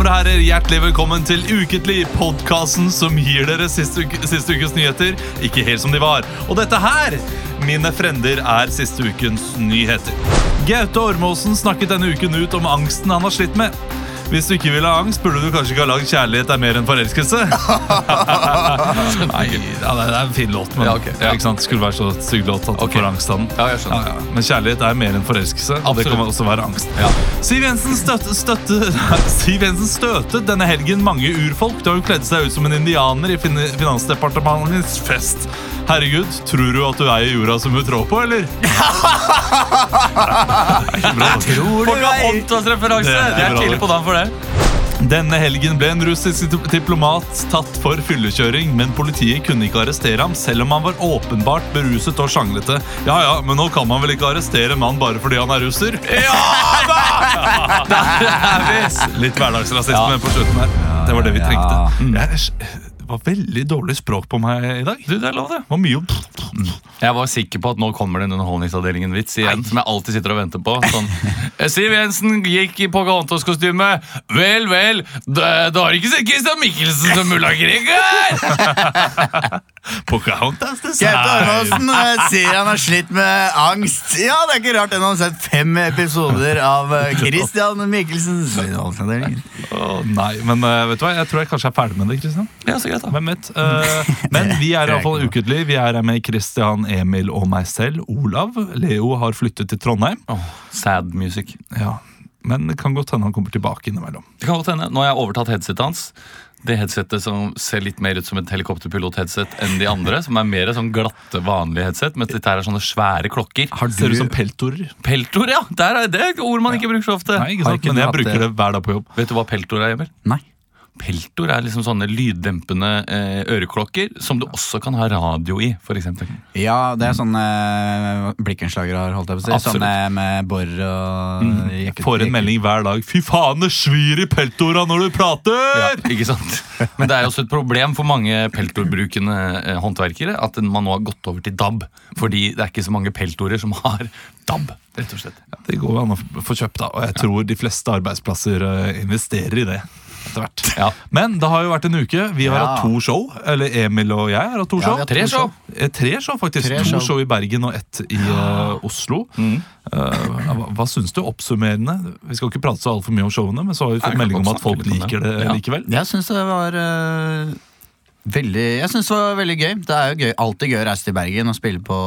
Hjertelig velkommen til Uketlig, podkasten som gir dere siste, uke, siste ukes nyheter ikke helt som de var. Og dette her, mine frender, er siste ukens nyheter. Gaute Ormåsen snakket denne uken ut om angsten han har slitt med. Hvis du ikke vil ha angst, burde du kanskje ikke ha lagd 'Kjærlighet er mer enn forelskelse'. Nei, ja, det er en fin låt, men Ja, ok. ja, ikke sant? skulle være så stygg låt at du Ok. får angst av den. Ja, jeg skjønner. Ja, ja. Men kjærlighet er mer enn forelskelse. Og det Absolutt. kan også være angst. Ja. Siv, Jensen støtte, støtte, Siv Jensen støtet denne helgen mange urfolk da hun kledde seg ut som en indianer i fin Finansdepartementets fest. Herregud, tror du at du er i jorda som hun trår på, eller? Det er ikke bra. Folk har Ontas-referanse! Det er Det er bra, tidlig det. på dagen for det. Denne helgen ble en russisk dip- diplomat tatt for fyllekjøring, men politiet kunne ikke arrestere ham, selv om han var åpenbart beruset og sjanglete. Ja ja, men nå kan man vel ikke arrestere en mann bare fordi han er russer? Ja da! Litt hverdagsrasisme Ja. på slutten her. Det var det vi ja, trengte. ja. Mm. Jeg det var veldig dårlig språk på meg i dag. Du, det er lov, det. Det var mye å Jeg var sikker på at nå kommer den underholdningsavdelingen-vits igjen. Som jeg alltid sitter og venter på. Sånn. Siv Jensen gikk i Pocahontas-kostyme. Vel, vel, da, da har ikke sett Christian Michelsen som mulla Gregar! Pocahontas Gaute design. Ormåsen eh, sier han har slitt med angst. Ja, det er ikke rart den har sett fem episoder av eh, Christian Michelsens Underholdningsavdelingen. Å, Nei, men eh, vet du hva? Jeg tror jeg kanskje er ferdig med det, Kristian. Ja, så greit, da. Hvem vet? Eh, men vi er iallfall ukentlig. Vi er her med Christian, Emil og meg selv. Olav. Leo har flyttet til Trondheim. Åh, sad music. Ja, Men det kan godt hende han kommer tilbake innimellom. Det kan godt hende. Nå har jeg overtatt headsetet hans. Det headsetet som ser litt mer ut som et helikopterpilot-headset enn de andre. Som er mer sånn glatte, vanlige headset, mens dette her er sånne svære klokker. Ser ut som peltorer. Peltor, ja! Der er det er et ord man ikke bruker så ofte. Nei, ikke Har sant? ikke Men du jeg hatt bruker det? det hver dag på jobb. Vet du hva peltor er, Emil? Nei. Peltor er liksom sånne lyddempende eh, øreklokker som du også kan ha radio i, f.eks. Ja, det er sånne blikkenslagere har, holdt jeg på å si. Absolutt. Sånne med bor og Mm. jekke- Får en melding hver dag. 'Fy faen, det svir i peltora når du Ja, prater!' ikke sant? Men det er også et problem for mange peltorbrukende eh, håndverkere at man nå har gått over til DAB. Fordi det er ikke så mange peltorer som har DAB, rett og slett. Det går jo an å f- få kjøpt, da. Og jeg tror de fleste arbeidsplasser eh, investerer i det. etter hvert. Ja. Men det har jo vært en uke. Vi har Ja. hatt to show. Eller Emil og jeg har hatt to Ja, show. vi har Tre show. Eh, Tre show, faktisk. Tre to show. show. i Bergen og ett i eh, Oslo. Mm. Eh, hva, hva syns du? Oppsummerende. Vi skal ikke prate så altfor mye om showene, men så har vi Nei, fått vi kan melding om godt at folk snakke litt om liker det det. Ja. likevel. Jeg syns det var eh, veldig Jeg synes det var veldig gøy. Det er jo gøy, alltid gøy å reise til Bergen og spille på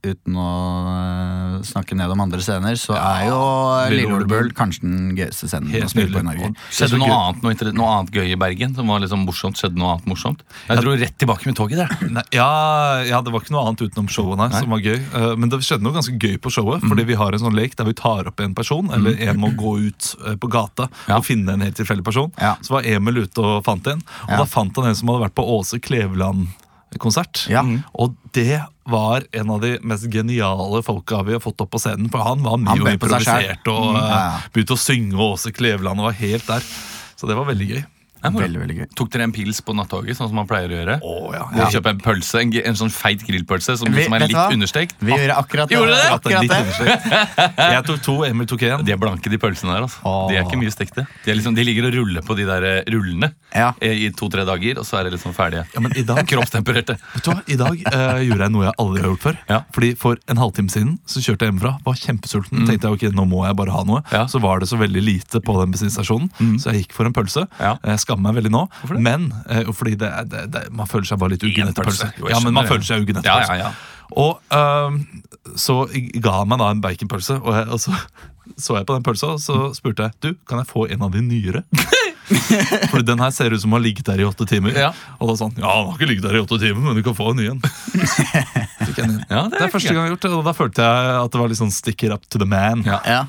Uten å eh, snakke ned om andre scener, så er jo eh, Lille Ole Bull kanskje den gøyeste scenen Helt å spille på i nydelig. Norge. Skjedde Det er så noe gøy. annet, noe, inter- noe annet gøy i Bergen som var liksom morsomt? Skjedde noe annet morsomt? Jeg dro rett tilbake med toget der. Nei, ja, ja, det var ikke noe annet utenom showene her som var gøy. Eh, men det skjedde noe ganske gøy på showet, fordi Mhm. vi har en sånn lek der vi tar opp en person, eller en må gå ut eh, på gata Ja. og finne en helt tilfeldig person. Ja. Så var Emil ute og fant en, og Ja. da fant han en som hadde vært på Åse Kleveland-konsert. Mhm. Ja. Og det var en av de mest geniale folka vi har fått opp på scenen, for han var mye Han og bød på seg selv. improvisert og Mm, ja, eh, ja. begynte å synge og Åse Kleveland og var helt der. Så det var veldig gøy. Nei, moro. Veldig, veldig gøy. Tok dere en pils på nattoget, sånn som man pleier å gjøre? Å ja. Ja. Kjøpe en pølse, en, g- en sånn feit grillpølse som Vi- liksom er vet du hva? litt understekt? Vi gjorde akkurat det. Gjorde dere det? Akkurat Litt det. understrekt. Jeg tok to, Emil tok én. De er blanke, de pølsene der. altså. De er ikke mye stekte. De, er liksom, de ligger og ruller på de der eh, rullene Ja. eh, i to-tre dager, og så er de liksom ferdige. Ja, men i dag, Kroppstempererte. vet du hva? I dag eh, gjorde jeg noe jeg aldri har gjort før. Ja. Fordi For en halvtime siden så kjørte jeg hjemmefra. Var kjempesulten. Tenkte jeg, ok, nå må jeg bare ha noe Mm. Ja. Mm. Så var det så veldig lite på den bensinstasjonen, så jeg gikk for en pølse. Eh, Ja. Jeg skammer meg veldig nå, Hvorfor det? men eh, jo, fordi det, er- det, det, man føler seg bare litt En uggen etter pølse. pølse. Jo, jeg Ja, men man skjønner føler det. seg uggen etter Ja, pølse. ja, ja. Og ehm, så ga han meg da en baconpølse, og, jeg, og så så jeg på den pølsa, og så spurte jeg du, kan jeg få en av de nyere. Fordi den her ser ut som har ligget der i åtte timer. Ja. Og da sa han ja, den har ikke ligget der i åtte timer, men du kan få en ny en. Fikk jeg en ny en. Ja, Det er første gang jeg har gjort det, og da følte jeg at det var litt sånn sticker up to the man. Ja. Ja.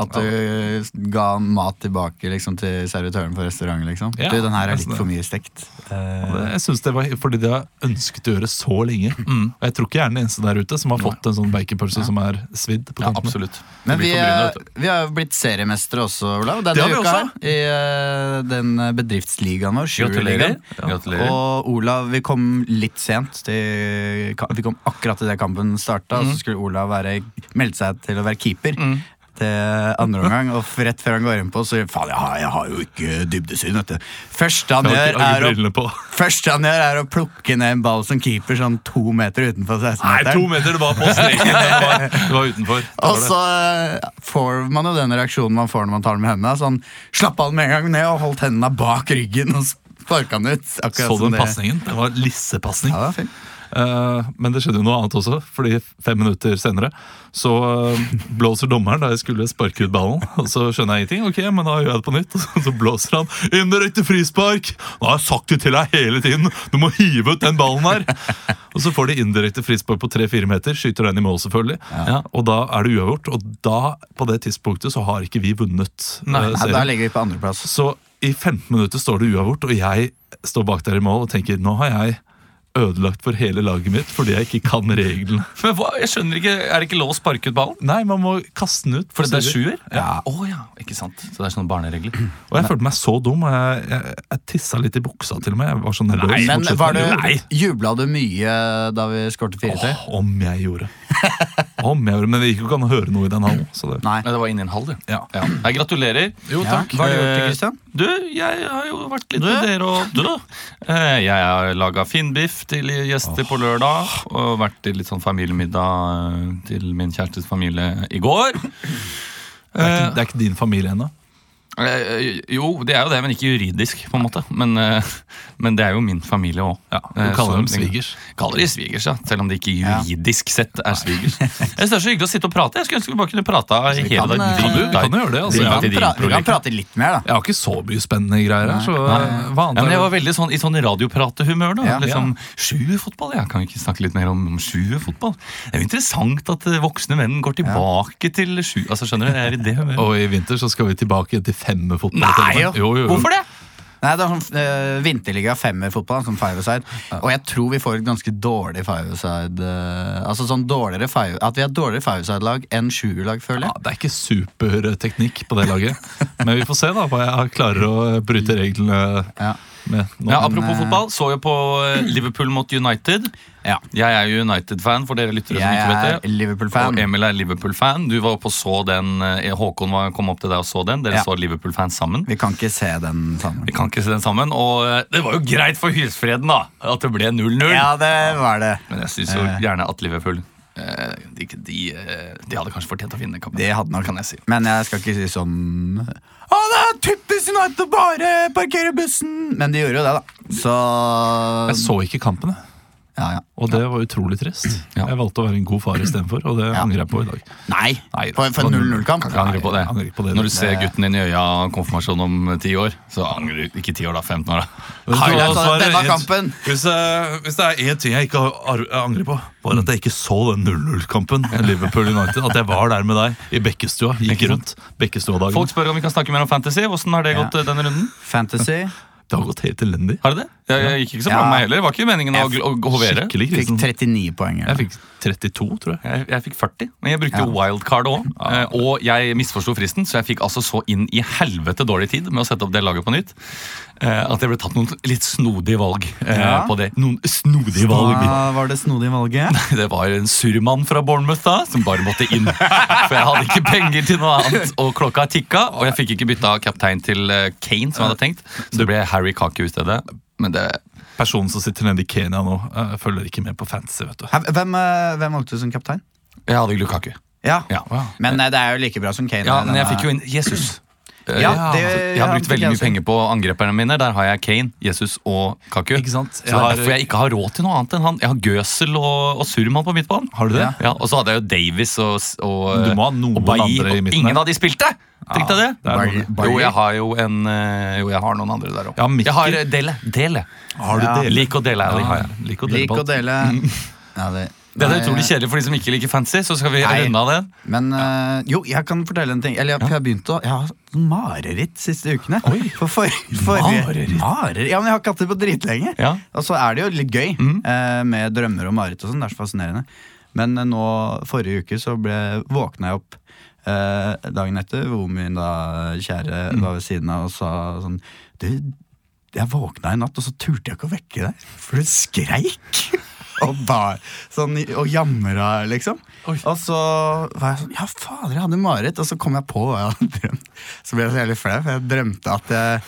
At du eh, ga mat tilbake liksom, til servitøren på restauranten, liksom. Ja, du, den her er nesten Altså, litt for mye stekt. eh, Og det- Jeg synes det var Fordi det har jeg ønsket å gjøre så lenge. Og jeg tror ikke jeg er den eneste der ute som har fått en sånn baconpølse som er svidd. på Ja, kantene. absolutt. Men Det vi, eh, blir for brune, vet du. er- vi har jo blitt seriemestere også, Olav. Det har Denne vi uka også. her. I eh, den bedriftsligaen vår. Gratulerer. sjuerligaen. Ja. Gratulerer. Og Olav, vi kom litt sent. Mhm. Til, ka- vi kom akkurat idet kampen starta. Så skulle Olav være, melde seg til å være keeper. til andre omgang, og f- rett før han går inn på, så faen, jeg har, jeg har jo ikke dybdesyn, vet du. Første han, Jeg har gjør, ikke- jeg har ikke er å, brillene på. første han gjør, er å plukke ned en ball som keeper sånn to meter utenfor Nei, 16-meteren. to meter, det var på streken. Det var, det var utenfor. Det var Og så eh, får man jo den reaksjonen man får når man tar den med hendene. Sånn, slapp av den med en gang ned og holdt hendene bak ryggen og sparka den ut. det. Akkurat Så du som den det- pasningen? Det var lissepasning. Ja, det var fint. Eh, men det skjedde jo noe annet også, fordi fem minutter senere så eh, blåser dommeren da jeg skulle sparke ut ballen. Og så skjønner jeg ingenting, ok, men da gjør jeg det på nytt. Og så, så blåser han indirekte frispark! Nå har jeg sagt det til deg hele tiden! Du må hive ut den ballen her! Og så får de indirekte frispark på tre-fire meter, skyter den i mål selvfølgelig. Ja. og da er det uavgjort, og da, på det tidspunktet, så har ikke vi vunnet. eh, Nei, Nei, serien. da ligger vi på andreplass. Så i 15 minutter står det uavgjort, og jeg står bak der i mål og tenker nå har jeg ødelagt for hele laget mitt fordi jeg ikke kan reglene. Men hva, jeg skjønner ikke, Er det ikke lov å sparke ut ballen? Nei, man må kaste den ut. Fordi det er Sider. sjuer? Å ja. Ikke sant? Så det er sånne barneregler. Og jeg følte meg så dum. og Jeg, jeg, jeg tissa litt i buksa til og med. Jeg var så nervøs. mot Nei, Men slutten. var du, Nei. jubla du mye da vi skårte 4-3? Åh, om jeg gjorde. Om jeg gjorde. Men det gikk jo ikke an å høre noe i den hallen. Så det. Nei. Nei, det var inni en halv, det. Ja. Ja. Jeg gratulerer. Jo, Eh, Ja. takk. Hva har du gjort, Christian? Du, jeg har jo vært litt med dere og du, da. Eh, Jeg har laga finbiff til gjester på lørdag. Og vært i litt sånn familiemiddag eh, til min kjærestes familie i går. Det, er ikke, det er ikke din familie ennå. Eh, Jo, det er jo det, men ikke juridisk, på en måte. Men, eh, men det er jo min familie òg. Ja, du kaller dem svigers. Kaller de svigers, ja. Selv om de ikke juridisk sett er svigers. Jeg synes Det er så hyggelig å sitte og prate. Jeg skulle ønske vi bare kunne prata hele kan, dagen. eh, Kan du- vi kan jo gjøre det, altså. Vi Ja, kan, Drit i din pra vi kan prolek. prate litt mer, da. Jeg har ikke så mye spennende greier her. Så eh, hva Ja, annet men jeg er var det? veldig sånn, i sånn radiopratehumør. da Ja. liksom, Sjuerfotball? Ja. Kan vi ikke snakke litt mer om, om sjuerfotball? Det er jo interessant at eh, voksne menn går tilbake til sju... Altså, skjønner du, jeg er i det humøret. Og i vinter så skal vi tilbake til femmerfotball. Nei, jo, jo, jo. Hvorfor det? Nei, det er sånn eh, Vinterliga femmerfotball, sånn five-a-side. Og jeg tror vi får et ganske dårlig five-a-side eh, Altså sånn dårligere five At vi har et dårligere five-a-side-lag enn sjuerlag, føler Ja, jeg. det er ikke superteknikk på det laget. Men vi får se da hva jeg klarer å eh, bryte reglene Ja. med. Nå. Ja, apropos fotball, så jo på eh, Liverpool mot United. Ja. Jeg er jo United-fan, for dere lyttere som Jeg ikke er vet det. Liverpool-fan. Og Emil er Liverpool-fan. Du var oppe og så den. eh, Håkon var, kom opp til deg og så den. Dere Ja. så Liverpool-fans sammen. Vi kan ikke se den sammen. Vi kan ikke se den sammen. Og eh, det var jo greit for hylsfreden, da. At det ble 0-0. Ja, det var det. Men jeg syns jo gjerne at Liverpool eh, de, de, eh, de hadde kanskje fortjent å vinne kampen. Det hadde nok. kan jeg si. Men jeg skal ikke si sånn Å, det er typisk United å bare parkere bussen! Men de gjorde jo det, da. Så Jeg så ikke kampene, ja, ja. og det var utrolig trist. Ja. Jeg valgte å være en god far istedenfor, og det Ja. angrer jeg på i dag. Nei! Nei, for for det var 0-0-kamp. Jeg angrer på det. jeg angrer på det. Når du ser gutten din i øya konfirmasjon om eh, ti år, så angrer du ikke ti år, da. altså. 15 år, da. Highlight Så- så av er det denne en- kampen. Hvis, eh, hvis det er én ting jeg ikke har- ar- angrer på, var at jeg ikke så den 0-0-kampen. Liverpool United At jeg var der med deg i Bekkestua. Gikk rundt Bekkestua-dagen. Folk spør om vi kan snakke mer om fantasy. Hvordan har det Ja. gått eh, denne runden? Fantasy. Det har gått helt elendig. Har det det? Jeg, jeg gikk ikke så bra Ja. med meg heller. Det var ikke meningen å, å, å hovere. Skikkelig Fikk krisen. sånn- 39 poeng. Jeg fikk 32, tror jeg. Jeg, jeg fikk 40, men jeg brukte jo wildcard òg. Og jeg misforsto fristen, så jeg fikk altså så inn i helvete dårlig tid med å sette opp det laget på nytt eh, at det ble tatt noen litt snodige valg eh, Ja. på det. Noen snodige valg. Hva var det snodige valget? Det var en surmann fra Bournemouth da, som bare måtte inn. For jeg hadde ikke penger til noe annet, og klokka tikka. Og jeg fikk ikke bytta kaptein til eh, Kane, som jeg hadde tenkt. Så det ble Harry Kaku i stedet. Men det Personen som sitter nede i Kenya nå, eh, følger ikke med på fantasy, vet du. Hæ, Hvem, eh, hvem valgte du som kaptein? Jeg hadde Lukaku. Ja. Ja. Men eh, det er jo like bra som Kane. Ja, men jeg denne- fikk jo inn Jesus. Eh, Ja, det- så jeg har han brukt fikk veldig jeg mye også. penger på angreperne mine. Der har jeg Kane, Jesus og Kaku. Ikke sant? Så Jeg det er har- derfor jeg ikke har råd til noe annet enn han. Jeg har Gøsel og, og Surman på midtbanen. Har du det? Ja. Ja, og så hadde jeg jo Davis og, og, eh, Du må ha noen og Bailly, andre i og midten Ingen der. av de spilte! Tenk deg det. det er noe med det. Bar- Jo, jeg har jo en eh, Jo, jeg har noen andre der òg. Ja, Mikkel. jeg har eh, Dele. Dele. Har du Ja. dele? Lik og Dele Alli har jeg. Lik og Lik å delball. dele ja, det, Mm. Det er Nei, utrolig kjedelig for de som ikke liker fancy, så skal vi Nei. runde av den. Men eh, jo, jeg kan fortelle en ting. Eller jeg, jeg har begynt å Jeg har hatt sånn mareritt siste ukene. For for, for, Mareritt? Marer- Ja, men jeg har ikke hatt det på dritlenge. Ja. Mm. Og så er det jo litt gøy eh, med drømmer og mareritt og sånn. Det er så fascinerende. Men eh, nå, forrige uke, så ble, våkna jeg opp eh, dagen etter, hvor min da kjære Mm. var ved siden av og sa sånn Du, jeg våkna i natt, og så turte jeg ikke å vekke deg, for du skreik. og, bar, sånn, og jamra, liksom. Oi. Og så var jeg sånn Ja, fader, jeg hadde mareritt. Og så kom jeg på hva jeg hadde drømt. Så ble jeg så jævlig flau, for jeg drømte at jeg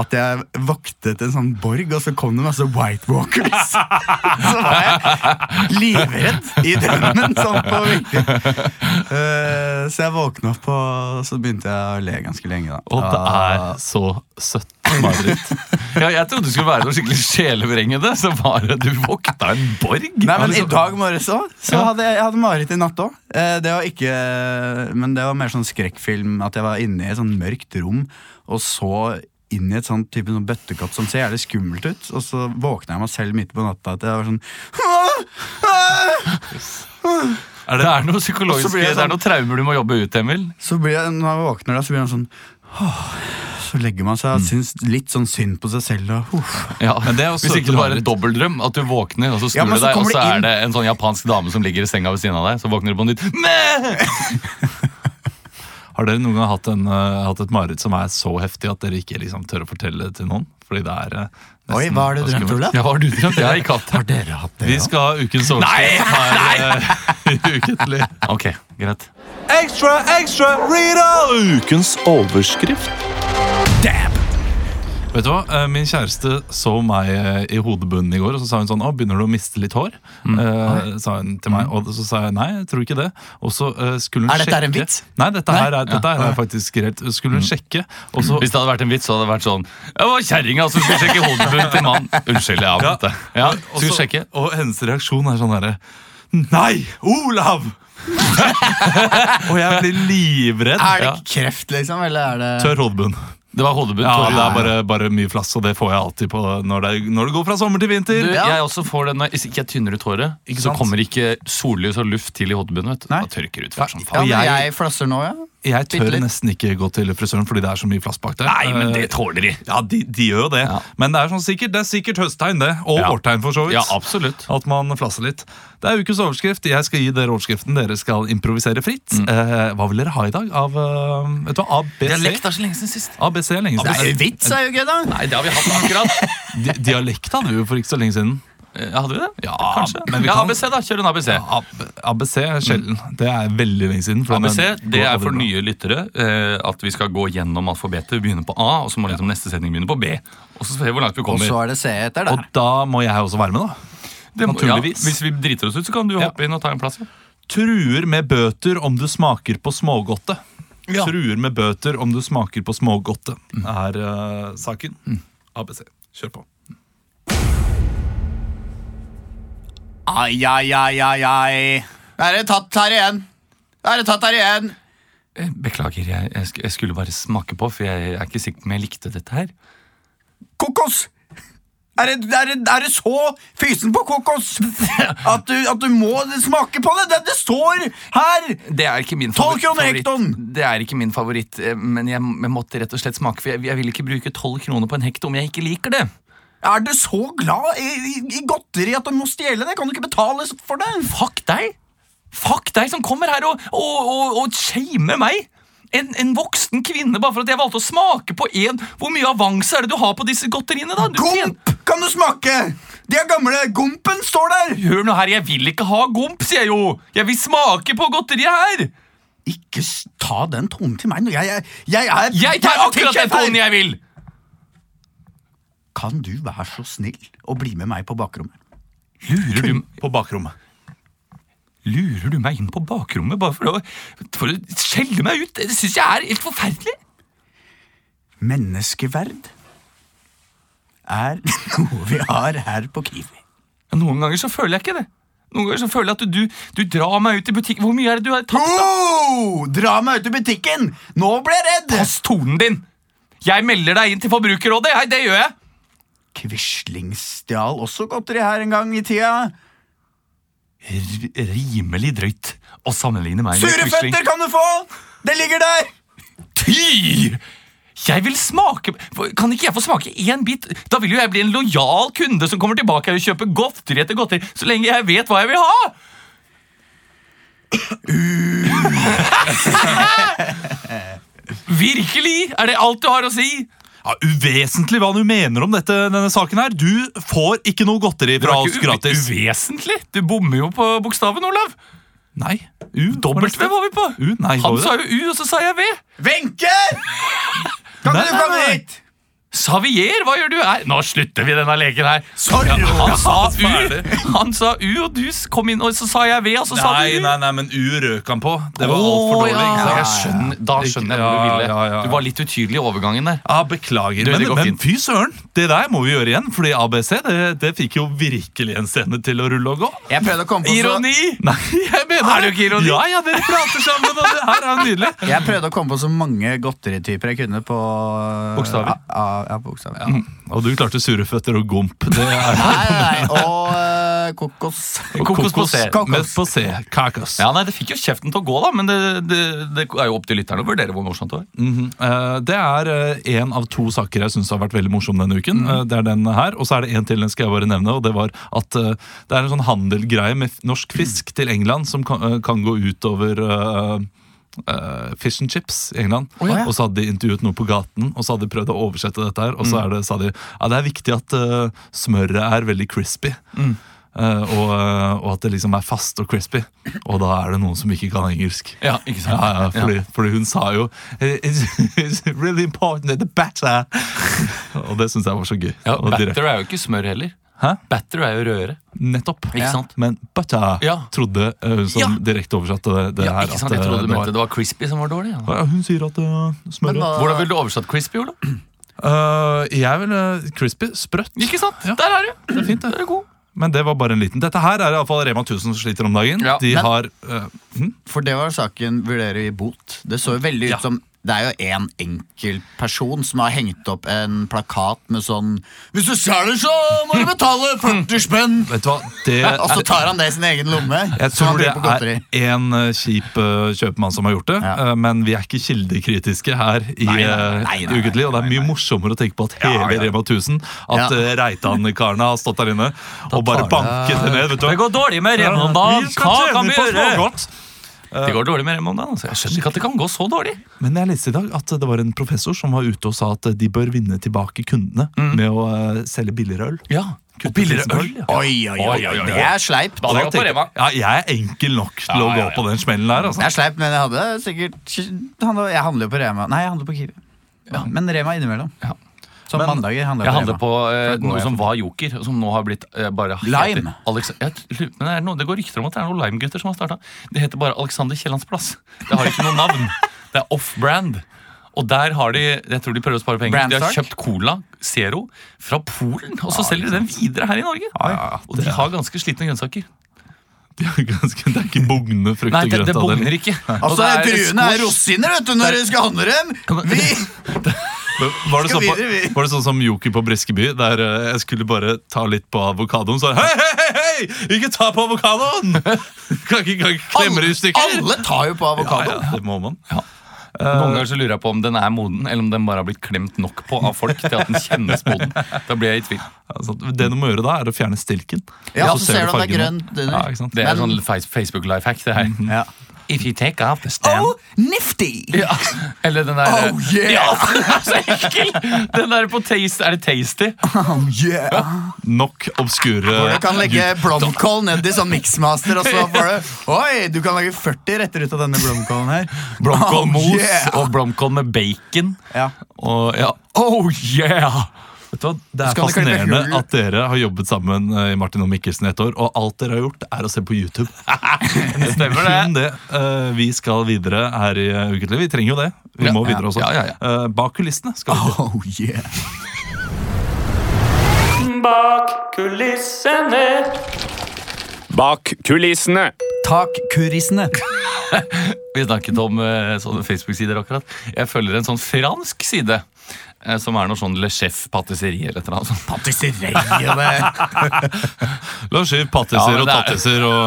at jeg voktet en sånn borg, og så kom det masse White Walkers. Så var jeg livredd i drømmen, sånn på virkelig. Eh, så jeg våkna opp, og så begynte jeg å le ganske lenge. da. Og det er Ah, så søtt mareritt. Ja, jeg trodde det skulle være noe skikkelig sjelevrengende. Så var det du vokta en borg. Nei, men I Altså, dag morges òg. Så Ja. hadde jeg, jeg hadde mareritt i natt òg. Det var ikke Men det var mer sånn skrekkfilm. At jeg var inne i et sånn mørkt rom og så inn i et sånn type sånn bøttekott som ser jævlig skummelt ut. Og så våkna jeg meg selv midt på natta at jeg var sånn er det, det er noe psykologisk Så blir jeg sånn- Det er noen traumer du må jobbe ut, Emil. Så blir jeg, Når jeg våkner, da, så blir jeg sånn «Åh». Så legger man seg og Mm. syns litt sånn synd på seg selv. Og, «Uff». Ja. Men det er også Hvis ikke det var en mareritt. dobbeltdrøm, at du våkner, og så snur Ja, men du så deg, og kommer så det inn- er det en sånn japansk dame som ligger i senga ved siden av deg. Så våkner du på nytt. Mæ! Har dere noen gang hatt, en, eh, hatt et mareritt som er så heftig at dere ikke liksom tør å fortelle det til noen? Fordi det er eh, nesten Oi, hva har du drømt, skummelt. Olav? Ja, hva har du drømt? Jeg har ikke hatt det. dere hatt Vi skal ha ukens overskrift her eh, ukentlig. Ok, greit. Ekstra, ekstra, Rita! Ukens overskrift. Vet du hva? Eh, Min kjæreste så meg eh, i hodebunnen i går, og så sa hun sånn Å, begynner du å miste litt hår? Mm. Eh, sa hun til meg. Og så sa jeg nei, jeg tror ikke det. Og så eh, skulle hun Er dette sjekke her en vits? Mm. Nei, dette her er, dette her er faktisk reelt. Skulle hun sjekke, og så Hvis det hadde vært en vits, så hadde det vært sånn Det var kjerringa som skulle sjekke hodebunnen til mannen. Unnskyld, jeg avbrøt det. Ja, og skulle så- sjekke. Og hennes reaksjon er sånn derre Nei, Olav! og jeg blir livredd. Er det Ja. kreft, liksom? Eller er det Tørr hodebunn. Det var hodebunn. Ja, Tore. det er bare, bare mye flass, og det får jeg alltid på når det, når det går fra sommer til vinter. Du, Ja. Jeg også får den, når- Hvis ikke jeg tynner ut håret, Ikke så sant? kommer ikke sollys og luft til i hodebunnen. vet du. Nei. Da tørker det ut fort som Ja, faen. men jeg- jeg flasser nå, ja. Jeg tør Bitte litt. nesten ikke gå til frisøren fordi det er så mye flass bak der. Nei, men Eh, det tåler de. Ja, de, de gjør jo det. Ja. Men det er, sånn sikkert, det er sikkert høsttegn, det. Og Ja. vårtegn, for så vidt. Ja, absolutt. at man flasser litt. Det er ukens overskrift. Jeg skal gi dere overskriften. Dere skal improvisere fritt. Mm. Eh, hva vil dere ha i dag? Av eh, vet du hva, ABC? så lenge siden sist. ABC er lenge Det er siden. jo vits, er jo gøy, da. Nei, det har vi hatt akkurat. Di- Dialekt hadde vi jo for ikke så lenge siden. Ja, hadde vi det? Ja, Kanskje. men vi ja, kan- ABC, da. Kjør en ABC. Ab ABC er sjelden. Det er veldig lenge siden. for ABC, den Det går er aldri for bra. nye lyttere eh, at vi skal gå gjennom alfabetet. Vi begynner på A, og så må liksom neste sending begynne på B. Og så ser vi hvor langt vi Og så kommer. er det C etter der. Og da må jeg også være med, da. Det må- naturligvis. Ja, hvis vi driter oss ut, så kan du Ja. hoppe inn og ta en plass. Ja. Truer med bøter om du smaker på smågodte. Truer med bøter om du smaker på smågodte, er eh, saken. Mm. ABC. Kjør på. Ai, ai, ai, ai, ai. Da er det tatt her igjen. Da er det tatt her igjen. Eh, Beklager, jeg, jeg, sk- jeg skulle bare smake på, for jeg er ikke sikker på om jeg likte dette her. Kokos! Er det, er, det, er det så fysen på kokos at du, at du må smake på det? Det, det står her! Det er ikke min 12 favoritt. kroner favoritt. hekton! Det er ikke min favoritt, eh, men jeg, jeg måtte rett og slett smake, for jeg, jeg vil ikke bruke 12 kroner på en hekto om jeg ikke liker det. Er du så glad i, i, i godteri at du må stjele det? Kan du ikke betale for det? Fuck deg! Fuck deg som kommer her og, og, og, og shamer meg! En, en voksen kvinne bare for at jeg valgte å smake på en Hvor mye avanse er det du har på disse godteriene, da? Du tjener- Gomp kan du smake! De er gamle. Gompen står der! Hør nå her, jeg vil ikke ha gomp, sier jeg jo! Jeg vil smake på godteriet her! Ikke s- ta den tonen til meg. nå. Jeg, jeg, jeg er Jeg tar akkurat den tonen jeg vil! Kan du være så snill å bli med meg på bakrommet? Lurer du, På bakrommet. lurer du meg inn på bakrommet bare for å, for å skjelle meg ut? Det syns jeg er helt forferdelig. Menneskeverd er noe vi har her på Kiwi. Ja, Noen ganger så føler jeg ikke det. Noen ganger så føler jeg at du, du drar meg ut i butikken. Hvor mye er det du har tatt? Oh, dra meg ut i butikken! Nå ble jeg redd! Pass tonen din! Jeg melder deg inn til Forbrukerrådet. Jeg, det gjør jeg. Quisling stjal også godteri her en gang i tida. R rimelig drøyt å sammenligne meg Sure Quisling. føtter kan du få! Det ligger der! Ty! Jeg vil smake Kan ikke jeg få smake én bit? Da vil jo jeg bli en lojal kunde som kommer tilbake her og kjøper godteri etter godteri så lenge jeg vet hva jeg vil ha! Virkelig? Er det alt du har å si? ja, uvesentlig hva du mener om dette, denne saken her. Du får ikke noe godteri Det fra var oss ikke uve- gratis. uvesentlig! Du bommer jo på bokstaven, Olav. Nei. U, Dobbelt V var vi på. U, nei, var Han det sa jo U, og så sa jeg V. Wenche! Kan Nei, du nei, komme nei. hit? Xavier, hva gjør du her? Nå slutter vi denne leken her. Sorry, Ja, han, Olav. sa U, han sa U, og du s- kom inn, og så sa jeg V, og så sa Nei, du U. nei, nei, men U røk han på. Det var altfor Å, dårlig. ikke ja. Ja, sant? jeg skjønner, da skjønner jeg hvor du Ja, ville. ja, ja, ja. Du var litt utydelig i overgangen der. Ja, Beklager. Du, det men, går men fint. fy søren, det der må vi gjøre igjen. Fordi ABC det, det fikk jo virkelig en scene til å rulle og gå. Jeg prøvde å komme på så... Ironi! Altså- Nei, jeg mener Er det jo ikke ironi? Ja, ja, dere prater sammen, og det her er jo nydelig. Jeg prøvde å komme på så mange godterityper jeg kunne på Bokstaver. Ja, ja, ja, bokstaver. Og du klarte sureføtter og gomp. Det er Nei, nei, nei. Og eh, kokos. Kokos på C. Kokos. Mest på C. Kakos. Ja, nei, Det fikk jo kjeften til å gå, da, men det, det, det er jo opp til lytterne å vurdere hvor morsomt det var. Mhm. Eh, Det er én av to saker jeg syns har vært veldig morsom denne uken. Eh, Det er den her, Og så er det en til den skal jeg bare nevne. Og Det var at eh, det er en sånn handelgreie med f- norsk fisk til England som kan, eh, kan gå utover eh, eh, fish and chips i England. ja. Og så hadde de intervjuet noe på gaten og så hadde de prøvd å oversette dette. her Og så er det, sa de ja, det er viktig at eh, smøret er veldig crispy. Eh, og, eh, og at det liksom er fast og crispy. Og da er det noen som ikke kan engelsk. Ja, ikke sant? Ja, ja, fordi, fordi hun sa jo It's, it's really important that the batter Og det syns jeg var så gøy. Ja, Og direkt- batter er jo ikke smør heller. Hæ? Batter er jo rødere. Nettopp. Ikke sant? Men butter Ja. trodde eh, hun som Ja. direkte oversatte det, det Ja, her. ikke sant? at, Jeg eh, trodde du det var- mente det var crispy som var dårlig. Ja. ja, hun sier at uh, Men smøret hva- Hvordan ville du oversatt crispy, Ola? Eh, Jeg vil eh, crispy. Sprøtt. Ikke sant? Ja. Der er du! Det er fint, det. er god. Men det var bare en liten. Dette her er iallfall Rema 1000 som sliter om dagen. Ja. De Men- har eh, hm? For det var saken vurderer i bot. Det så jo veldig ut Ja. som det er jo en enkelt person som har hengt opp en plakat med sånn Hvis du selger, så må du betale 40 spenn! Vet du hva, det Og altså, så tar han det i sin egen lomme. Jeg som han tror det bruker på er godteri. en eh, kjip eh, kjøpmann som har gjort det, Ja. eh, men vi er ikke kildekritiske her i Nei, nei, eh, nei, nei, Ukentlig, og det er mye morsommere å tenke på at hele Rema 1000, at Ja. eh, Reitan-karene har stått der inne og bare banket det ned. vet du. Det går dårlig med Rema om dagen. Vi skal Hva tjene kan vi på gjøre? smågodt. Det går dårlig med Rema om dagen. Altså. Jeg skjønner ikke at det kan gå så dårlig. Men jeg leste i dag at det var en professor som var ute og sa at eh, de bør vinne tilbake kundene med å eh, selge billigere øl. Mm. Ja, Og billigere øl. ja. Oi, oi, oi, Oi, oi, oi, oi. det er sleipt. Da- Og da det går tenkte jeg, på Rema. Ja, jeg er enkel nok til å Ja, gå ja, ja. på den smellen der. altså. Det er sleipt, men jeg hadde sikkert handlet, Jeg handler jo på Rema. Nei, jeg handler på Kiwi. Men Rema innimellom. Ja. Som Men mandager handler Jeg jeg på handler Rema. på eh, Da går noe jeg som var joker, og som nå har blitt eh, bare helt- Lime. Alex jeg, lurer- men det, er noe, det går rykter om at det er noen Lime-gutter som har starta. Det heter bare Alexander Kiellands plass. Det har ikke noe navn. Det er off-brand. Og der har de jeg tror de prøver å spare penger. De har Brandstark? kjøpt Cola Zero fra Polen, og så selger de den videre her i Norge. Og de har ganske slitne grønnsaker. De er ganske, det er ikke bugnende frukt Nei, og det, grønt. det av bugner det. ikke. Og Altså, det er Druene er squash. rosiner vet du, når du skal handle dem! Vi, Var det, Skal sånn på, videre, vi. var det sånn som Joker på Briskeby, der eh, jeg skulle bare ta litt på avokadoen, så hei, hei, hei, hei, ikke ta på avokadoen! Kan ikke, kan ikke klemme det i stykker. alle tar jo på Ja, avokado. ja, det må man. Noen ganger så lurer jeg på om den er moden, eller om den bare har blitt klemt nok på av folk til at den kjennes moden. Da blir jeg i tvil. Altså, det du må gjøre da, er å fjerne stilken. Ja, Og så ser du at det er fargene. grønt under. Ja, ikke sant? Det er Men- sånn face- Facebook life hack, det her. Ja. If you take off the stem nifty! ja. Eller den der Oh, yeah! ja, den er så ekkel! Den der på taste Er det tasty? Oh, yeah. Nok obskure Hvor du kan legge blomkål ned i sånn mixmaster, og så får du Oi, du kan lage 40 retter ut av denne blomkålen her. Blomkålmos Oh, yeah! og blomkål med bacon. Ja. Og ja Oh yeah! Vet du hva? Det er Skal du klippe fascinerende hull? at dere har jobbet sammen eh, i Martin og Mikkelsen i et år, og alt dere har gjort, er å se på YouTube. Det stemmer, Kun det. det. Eh, vi skal videre her i eh, Ukentlig. Vi trenger jo det. Vi Ja. må videre Ja. også. Ja, ja, Eh, bak kulissene skal vi til. Oh, yeah. Bak kulissene. Bak kulissene. Takkurissene. Vi snakket om eh, sånne Facebook-sider akkurat. Jeg følger en sånn fransk side. eh, Som er noe sånn Le Chef Patisserie eller et eller annet. sånt. Patisserie. La oss skyve pattiser Ja, og men det er- tattiser og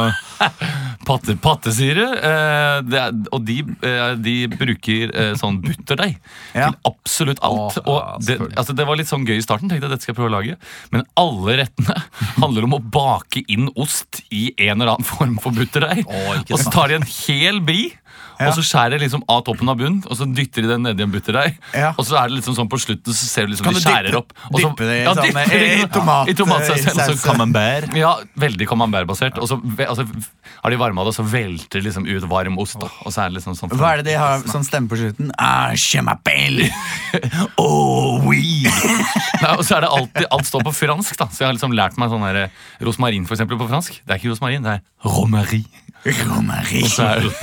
Patte, pattesyre. Eh, det er, og de, eh, de bruker eh, sånn butterdeig Ja. til absolutt alt. Åh, ja, og det, altså, det var litt sånn gøy i starten, tenkte jeg dette skal jeg prøve å lage. Men alle rettene handler om å bake inn ost i en eller annen form for butterdeig. Åh, ikke og så tar de en hel bi. og så skjærer de liksom av toppen av bunnen, og så dytter de den nedi en butterdeig. Ja. Og så er det liksom sånn på slutten, så ser du liksom Kan de du dyppe- skjærer opp. Og så, dyppe det i ja, sånn, dypper eh, de- i tomat- i tomatsaus. i eller sånn saus. camembert. Ja, veldig camembert-basert. Og så ve- altså, har de varma det, og så velter det liksom ut varm ost. Da. Og så er det liksom sånn Hva er det de har sånn stemme på slutten? Ah, je m'appelle Oh, oui! sånn- Nei, og så er det alltid, Alt står på fransk, da. Så jeg har liksom lært meg sånn her eh, rosmarin for eksempel, på fransk. Det er ikke rosmarin, det er romarin. Romari. Så er det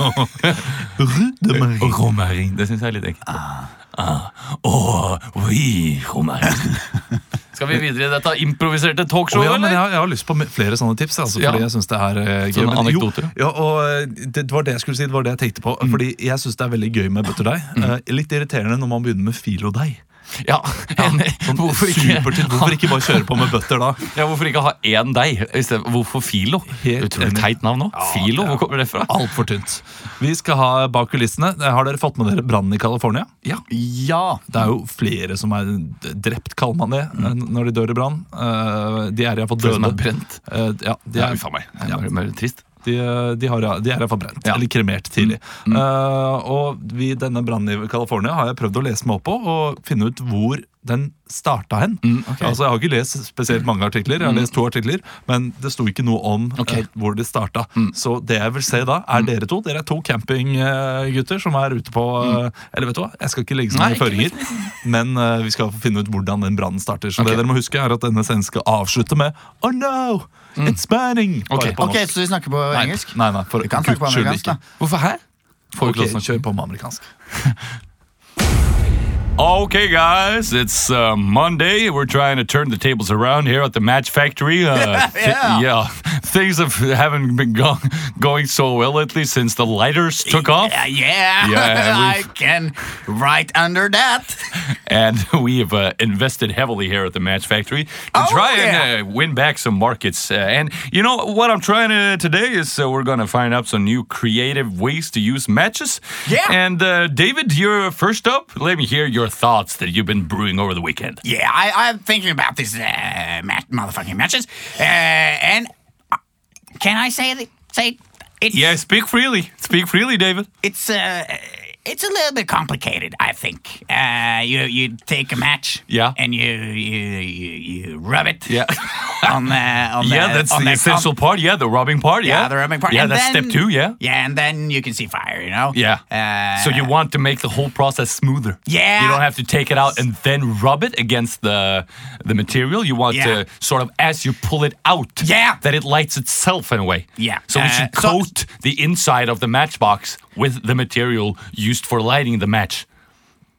romarin. Det syns jeg er litt ekkelt. Ah. Oh, oui, romarin. Skal vi videre i dette improviserte Å, talkshowet, ja, men jeg, eller? har, jeg har lyst på me- flere sånne tips. Altså, Ja. fordi jeg synes det er eh, gøy Sånne Men jo, anekdoter. Mm. Ja, og eh, det var det jeg skulle si, det var det jeg tenkte på. Fordi jeg syns det er veldig gøy med butterdeig. Eh, litt irriterende når man begynner med filodeig. Ja, enig. sånn Hvorfor Supertid. ikke? Hvorfor ikke bare kjøre på med bøtter da? Ja, hvorfor ikke ha én deig? i stedet- Hvorfor Filo? Helt Utrolig enig. teit navn nå. Filo, hvor kommer det fra? Altfor tynt. Vi skal ha bak kulissene. Eh, Har dere fått med dere brannen i California? Ja! Det er jo flere som er d- drept, kaller man det, eh, når de dør i brann. Eh, De er iallfall Døde. Mm. Som er døde. brent. Eh, Ja, de Ja, er, Uff a meg. Ja. Det er mer trist. De, de, har, de er iallfall brent, Ja. Mm. eller kremert tidlig. Eh, og vi, denne brannen i California har jeg prøvd å lese meg opp på og finne ut hvor den starta hen. Mm, Altså Jeg har ikke lest spesielt mange artikler, jeg har lest to artikler, men det sto ikke noe om Ok. Mm. eh, hvor det starta. Så det jeg vil se da, er dere to. Dere er to campinggutter som er ute på eh, Eller vet du hva, jeg skal ikke legge så Mm. Nei, mange ikke føringer, men eh, vi skal finne ut hvordan den brannen starter. Så Ok. det dere må huske, er at denne scenen skal avslutte med Oh no! It's burning! Bare Mm. Ok. på Ok, norsk. så vi snakker på Nei, engelsk? Nei, nei, for Vi kan snakke på guds skyld amerikansk, ikke. da. Hvorfor her? Får vi ikke Ok, lov til å snakke. kjør på med amerikansk. Okay, guys, it's uh, Monday. We're trying to turn the tables around here at the Match Factory. Uh, yeah, things have, haven't been go- going so well lately since the lighters took off. Yeah, yeah. Yeah, I we've- can right under that. and we have uh, invested heavily here at the Match Factory to Oh, try yeah. and uh, win back some markets. Uh, and you know what I'm trying to today is uh, we're gonna find out some new creative ways to use matches. Yeah. And uh, David, you're first up. Let me hear your thoughts that you've been brewing over the weekend. Yeah, I, I'm thinking about these uh, mat- motherfucking matches. Uh, and uh, can I say it? Say it's Yeah, speak freely. Speak freely, David. it's uh, it's a little bit complicated. I think uh, you you take a match, Yeah. and you you you, you rub it, Yeah. on the on yeah, the, that's on the comp- essential part. Yeah, the robbing part. Yeah, yeah, the rubbing part. Yeah, and that's then, step two. Yeah. yeah, and then you can see fire. You know, Yeah. Uh, so you want to make the whole process smoother. Yeah. You don't have to take it out and then rub it against the the material. You want Yeah. to sort of as you pull it out. Yeah. That it lights itself in a way. Yeah. So we Uh, should so- coat the inside of the matchbox with the material used for lighting the match.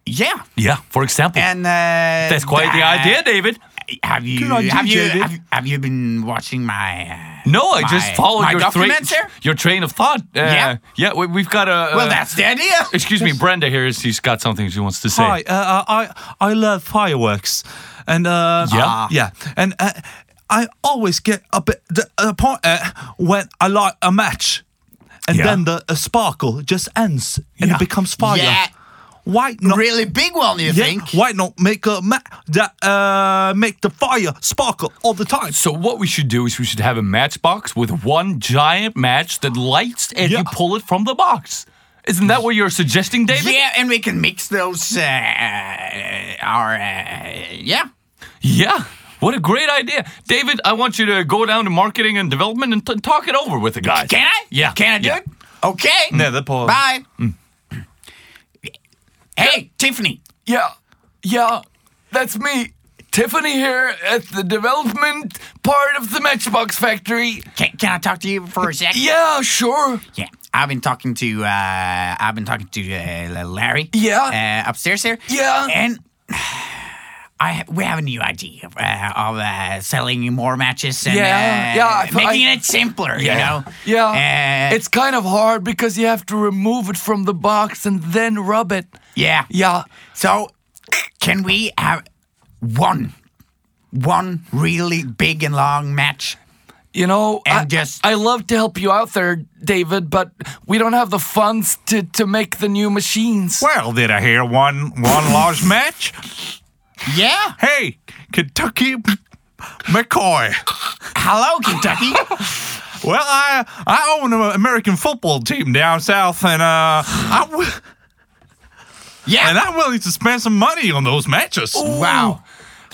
yeah, Yeah. For example. and uh, that's quite the uh, idea, David. Have you on you, have you David. have, have you been watching my? Uh, No, I my- just followed my your train documents here? your train of thought. Uh, Yeah. Yeah. We, we've got a. well, uh, that's the idea. Excuse me, Brenda here. is- She's got something she wants to say. Hi, uh, I I love fireworks, and uh, Yeah? yeah, and uh, I always get a bit the, the point uh, when I light a match, and Yeah. then the uh, sparkle just ends and Yeah. it becomes fire. Yeah. Why not? Really big one, you Yeah, think? why not make a ma- that uh, make the fire sparkle all the time? So what we should do is we should have a matchbox with one giant match that lights and you Yeah. pull it from the box. Isn't that what you're suggesting, David? Yeah, and we can mix those. Uh, our uh, yeah. Yeah. What a great idea. David, I want you to go down to marketing and development and t- talk it over with the guys. Can I? Yeah. Can I do Yeah. Mm. it? Okay. Nede på- Bye. Hey, Tiffany. Yeah. Yeah. That's me. Tiffany here at the development part of the Matchbox Factory. Can, can I talk to you for a sec? Yeah, sure. Yeah. I've been talking to uh, I've been talking to uh, Larry. Yeah. Uh, upstairs here. Yeah. And I ha- we have a new idea of, uh, of uh, selling more matches and Yeah, uh, yeah, I- making I- it simpler. Yeah. You know. Yeah. Uh, it's kind of hard because you have to remove it from the box and then rub it. yeah. Yeah. So, can we have one, one really big and long match? You know, And I, just- I love to help you out there, David, but we don't have the funds to, to make the new machines. Well, did I hear one one large match? Yeah. Hey, Kentucky McCoy. Hello, Kentucky. Well, I I own an American football team down south, and uh, I w- Yeah. and I'm willing to spend some money on those matches. Wow.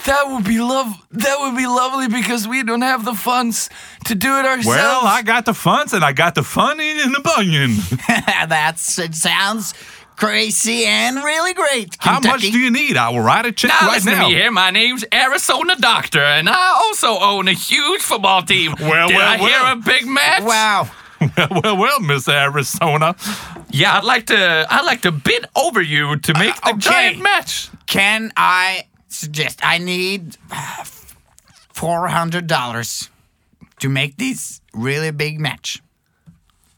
That would be love. That would be lovely because we don't have the funds to do it ourselves. Well, I got the funds, and I got the fun in, in the bunion. that sounds crazy and really great, Kentucky. How much do you need? I will write a check Now, right listen now. to me here. My name's Arizona Doctor, and I also own a huge football team. Well, Did well, I well. hear a big match? Wow. well, well, well, Miss Arizona. Yeah, I'd like to. I'd like to bid over you Uh, to make the okay. giant match. Can I suggest I need uh, $400 to make this really big match?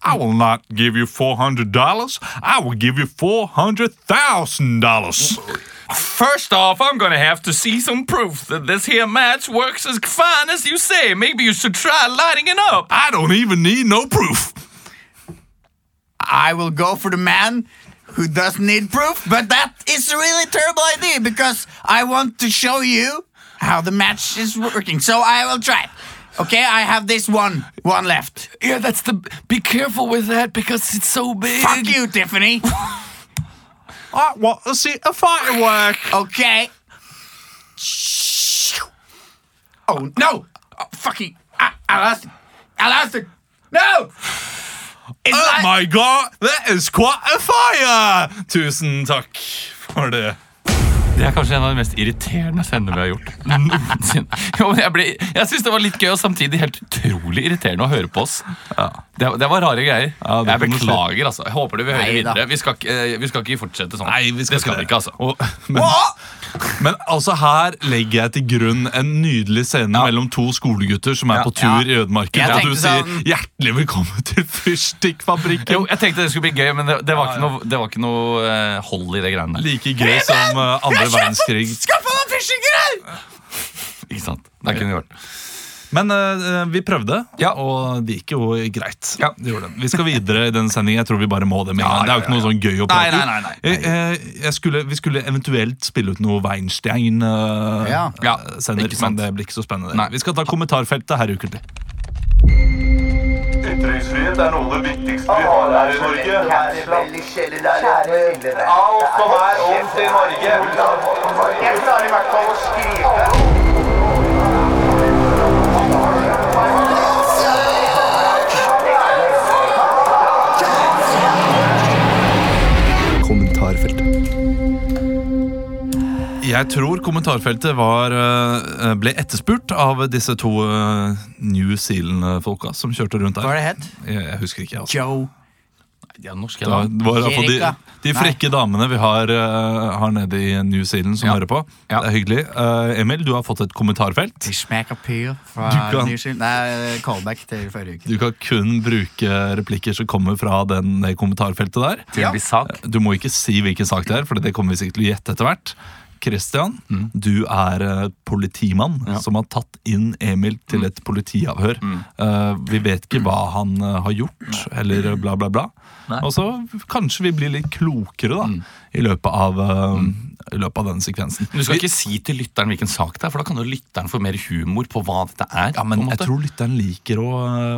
I will not give you four hundred dollars. I will give you four hundred thousand dollars. First off, I'm gonna have to see some proof that this here match works as fine as you say. Maybe you should try lighting it up. I don't even need no proof. I will go for the man who doesn't need proof, but that is a really terrible idea because I want to show you how the match is working. So I will try. Okay, I have this one, one left. Yeah, that's the. Be careful with that because it's so big. Fuck you, Tiffany. I want to see Ah, a firework. Okay. Oh no! Oh, fucking! I, I lost it. I lost it. No! It's Oh like- my god, that is quite a fire! Tusen takk for det. Det er kanskje en av de mest irriterende sendene vi har gjort noensinne. Jo, men jeg ble, jeg syns det var litt gøy, og samtidig helt utrolig irriterende å høre på oss. Det, det var rare greier. Ja, det jeg kan du si. beklager, altså. Jeg håper du vil høre Nei da. videre. Vi skal, ikke, eh, vi skal ikke fortsette sånn. Nei, vi skal det skal ikke. vi ikke, altså. Og, men, men altså her legger jeg til grunn en nydelig scene mellom to skolegutter som er på tur i ødemarken. Jeg Og du tenkte sier sånn- 'hjertelig velkommen til fyrstikkfabrikken'. Jo, jeg tenkte det skulle bli gøy, men det, det var ikke noe, det var ikke noe eh, hold i det greiene der. Like gøy som uh, andre verdenskrig. Skaffa meg fishinggrøt! Ikke sant? Det kunne vi gjort. Men eh, vi prøvde, Ja. og det gikk jo greit. Ja. Det gjorde det. Vi skal videre i den sendingen. Jeg tror vi bare må det. Med. en gang. det er jo ikke noe sånn gøy å Nei, prate nei, nei, nei. Jeg, eh, jeg skulle, vi skulle eventuelt spille ut noe Weinstein-sender, Ja. Ja, ikke sant. men det blir ikke så spennende. Nei. Vi skal ta kommentarfeltet her ukentlig. Ytringsfrihet er noe av det viktigste vi har her i Norge. Kjære veldig kjære venner. Alt som er ondt i Norge. Jeg klarer i hvert fall å skrive. Jeg tror kommentarfeltet var, eh, ble etterspurt av disse to eh, New Zealand-folka som kjørte rundt Hva der. er det het? Jeg, jeg husker ikke, altså. Joe. Ja, norsk, Ja, ja. det var i hvert fall de, Erika. de frekke damene vi har, eh, har nede i New Zealand som Ja. hører på. Ja. Det er hyggelig. Eh, Emil, du har fått et kommentarfelt. De smaker pyr Du fra kan- New Zealand. Nei, callback til forrige uke. Du kan kun bruke replikker som kommer fra den, det kommentarfeltet der. Til en viss sak. Du må ikke si hvilken sak det er, for det kommer vi sikkert til å gjette etter hvert. Christian, du er eh, politimann som har tatt inn Emil til et politiavhør. Eh, vi vet ikke hva han eh, har gjort, eller bla, bla, bla. Og så kanskje vi blir litt klokere da, i, løpet av, eh, i løpet av denne sekvensen. Du skal ikke si til lytteren hvilken sak det er, for da kan jo lytteren få mer humor på hva dette er. Ja, men på en måte. jeg tror lytteren liker å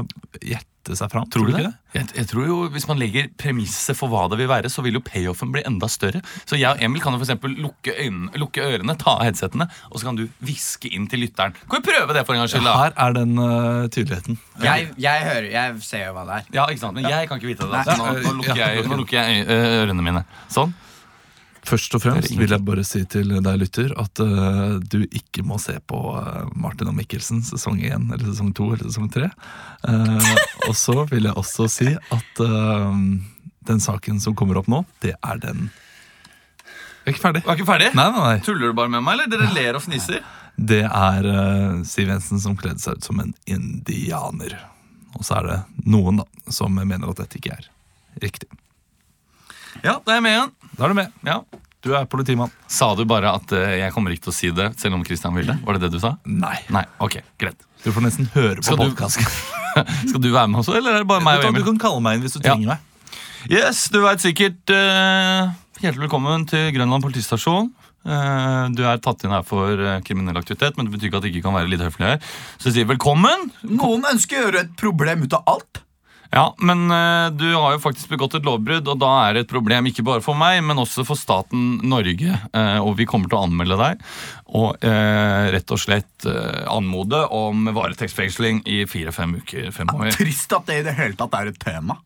eh, gjette seg fram. Tror du ikke det? Jeg, jeg tror jo Hvis man legger premisset for hva det vil være, så vil jo payoffen bli enda større. Så jeg og Emil kan jo for eksempel lukke, øynene, lukke ørene, ta av headsetene, og så kan du hviske inn til lytteren. Kan vi prøve det for en gangs skyld? da? Her er den eh, tydeligheten. Jeg, jeg hører, jeg ser jo hva det er. Ja, ikke sant? Men jeg kan ikke vite det. Da. Så nå, nå lukker Ja. jeg, nå lukker jeg øy- ø- ørene mine. Sånn. Først og fremst vil jeg bare si til deg lytter at eh, du ikke må se på eh, Martin og Mikkelsen sesong 1 eller sesong 2 eller sesong 3. Eh, og så vil jeg også si at eh, den saken som kommer opp nå, det er den Jeg er ikke ferdig. Var ikke ferdig? Nei, nei, nei. Tuller du bare med meg, eller? Dere ler og fniser. Det er eh, Siv Jensen som kledde seg ut som en indianer. Og så er det noen da, som mener at dette ikke er riktig. Ja, da er jeg med igjen. Da er du med. Ja. Du er politimann. Sa du bare at ø, jeg kommer ikke til å si det, selv om Christian ville? Var det det du sa? Nei. Nei, ok, greit. Du får nesten høre på Skal du- podkasten. Skal du være med også, eller er det bare meg og Du Emil? kan kalle meg inn hvis du Ja. trenger meg. Yes, du veit sikkert eh, Hjertelig velkommen til Grønland politistasjon. Eh, Du er tatt inn her for eh, kriminell aktivitet, men det betyr ikke at det ikke kan være litt høflig her. Så jeg sier velkommen. Noen ønsker å gjøre et problem ut av alt. Ja, men eh, du har jo faktisk begått et lovbrudd, og da er det et problem ikke bare for meg, men også for staten Norge. Eh, Og vi kommer til å anmelde deg og eh, rett og slett eh, anmode om varetektsfengsling i fire-fem uker. Fem Ah, år. Trist at det i det hele tatt er et tema.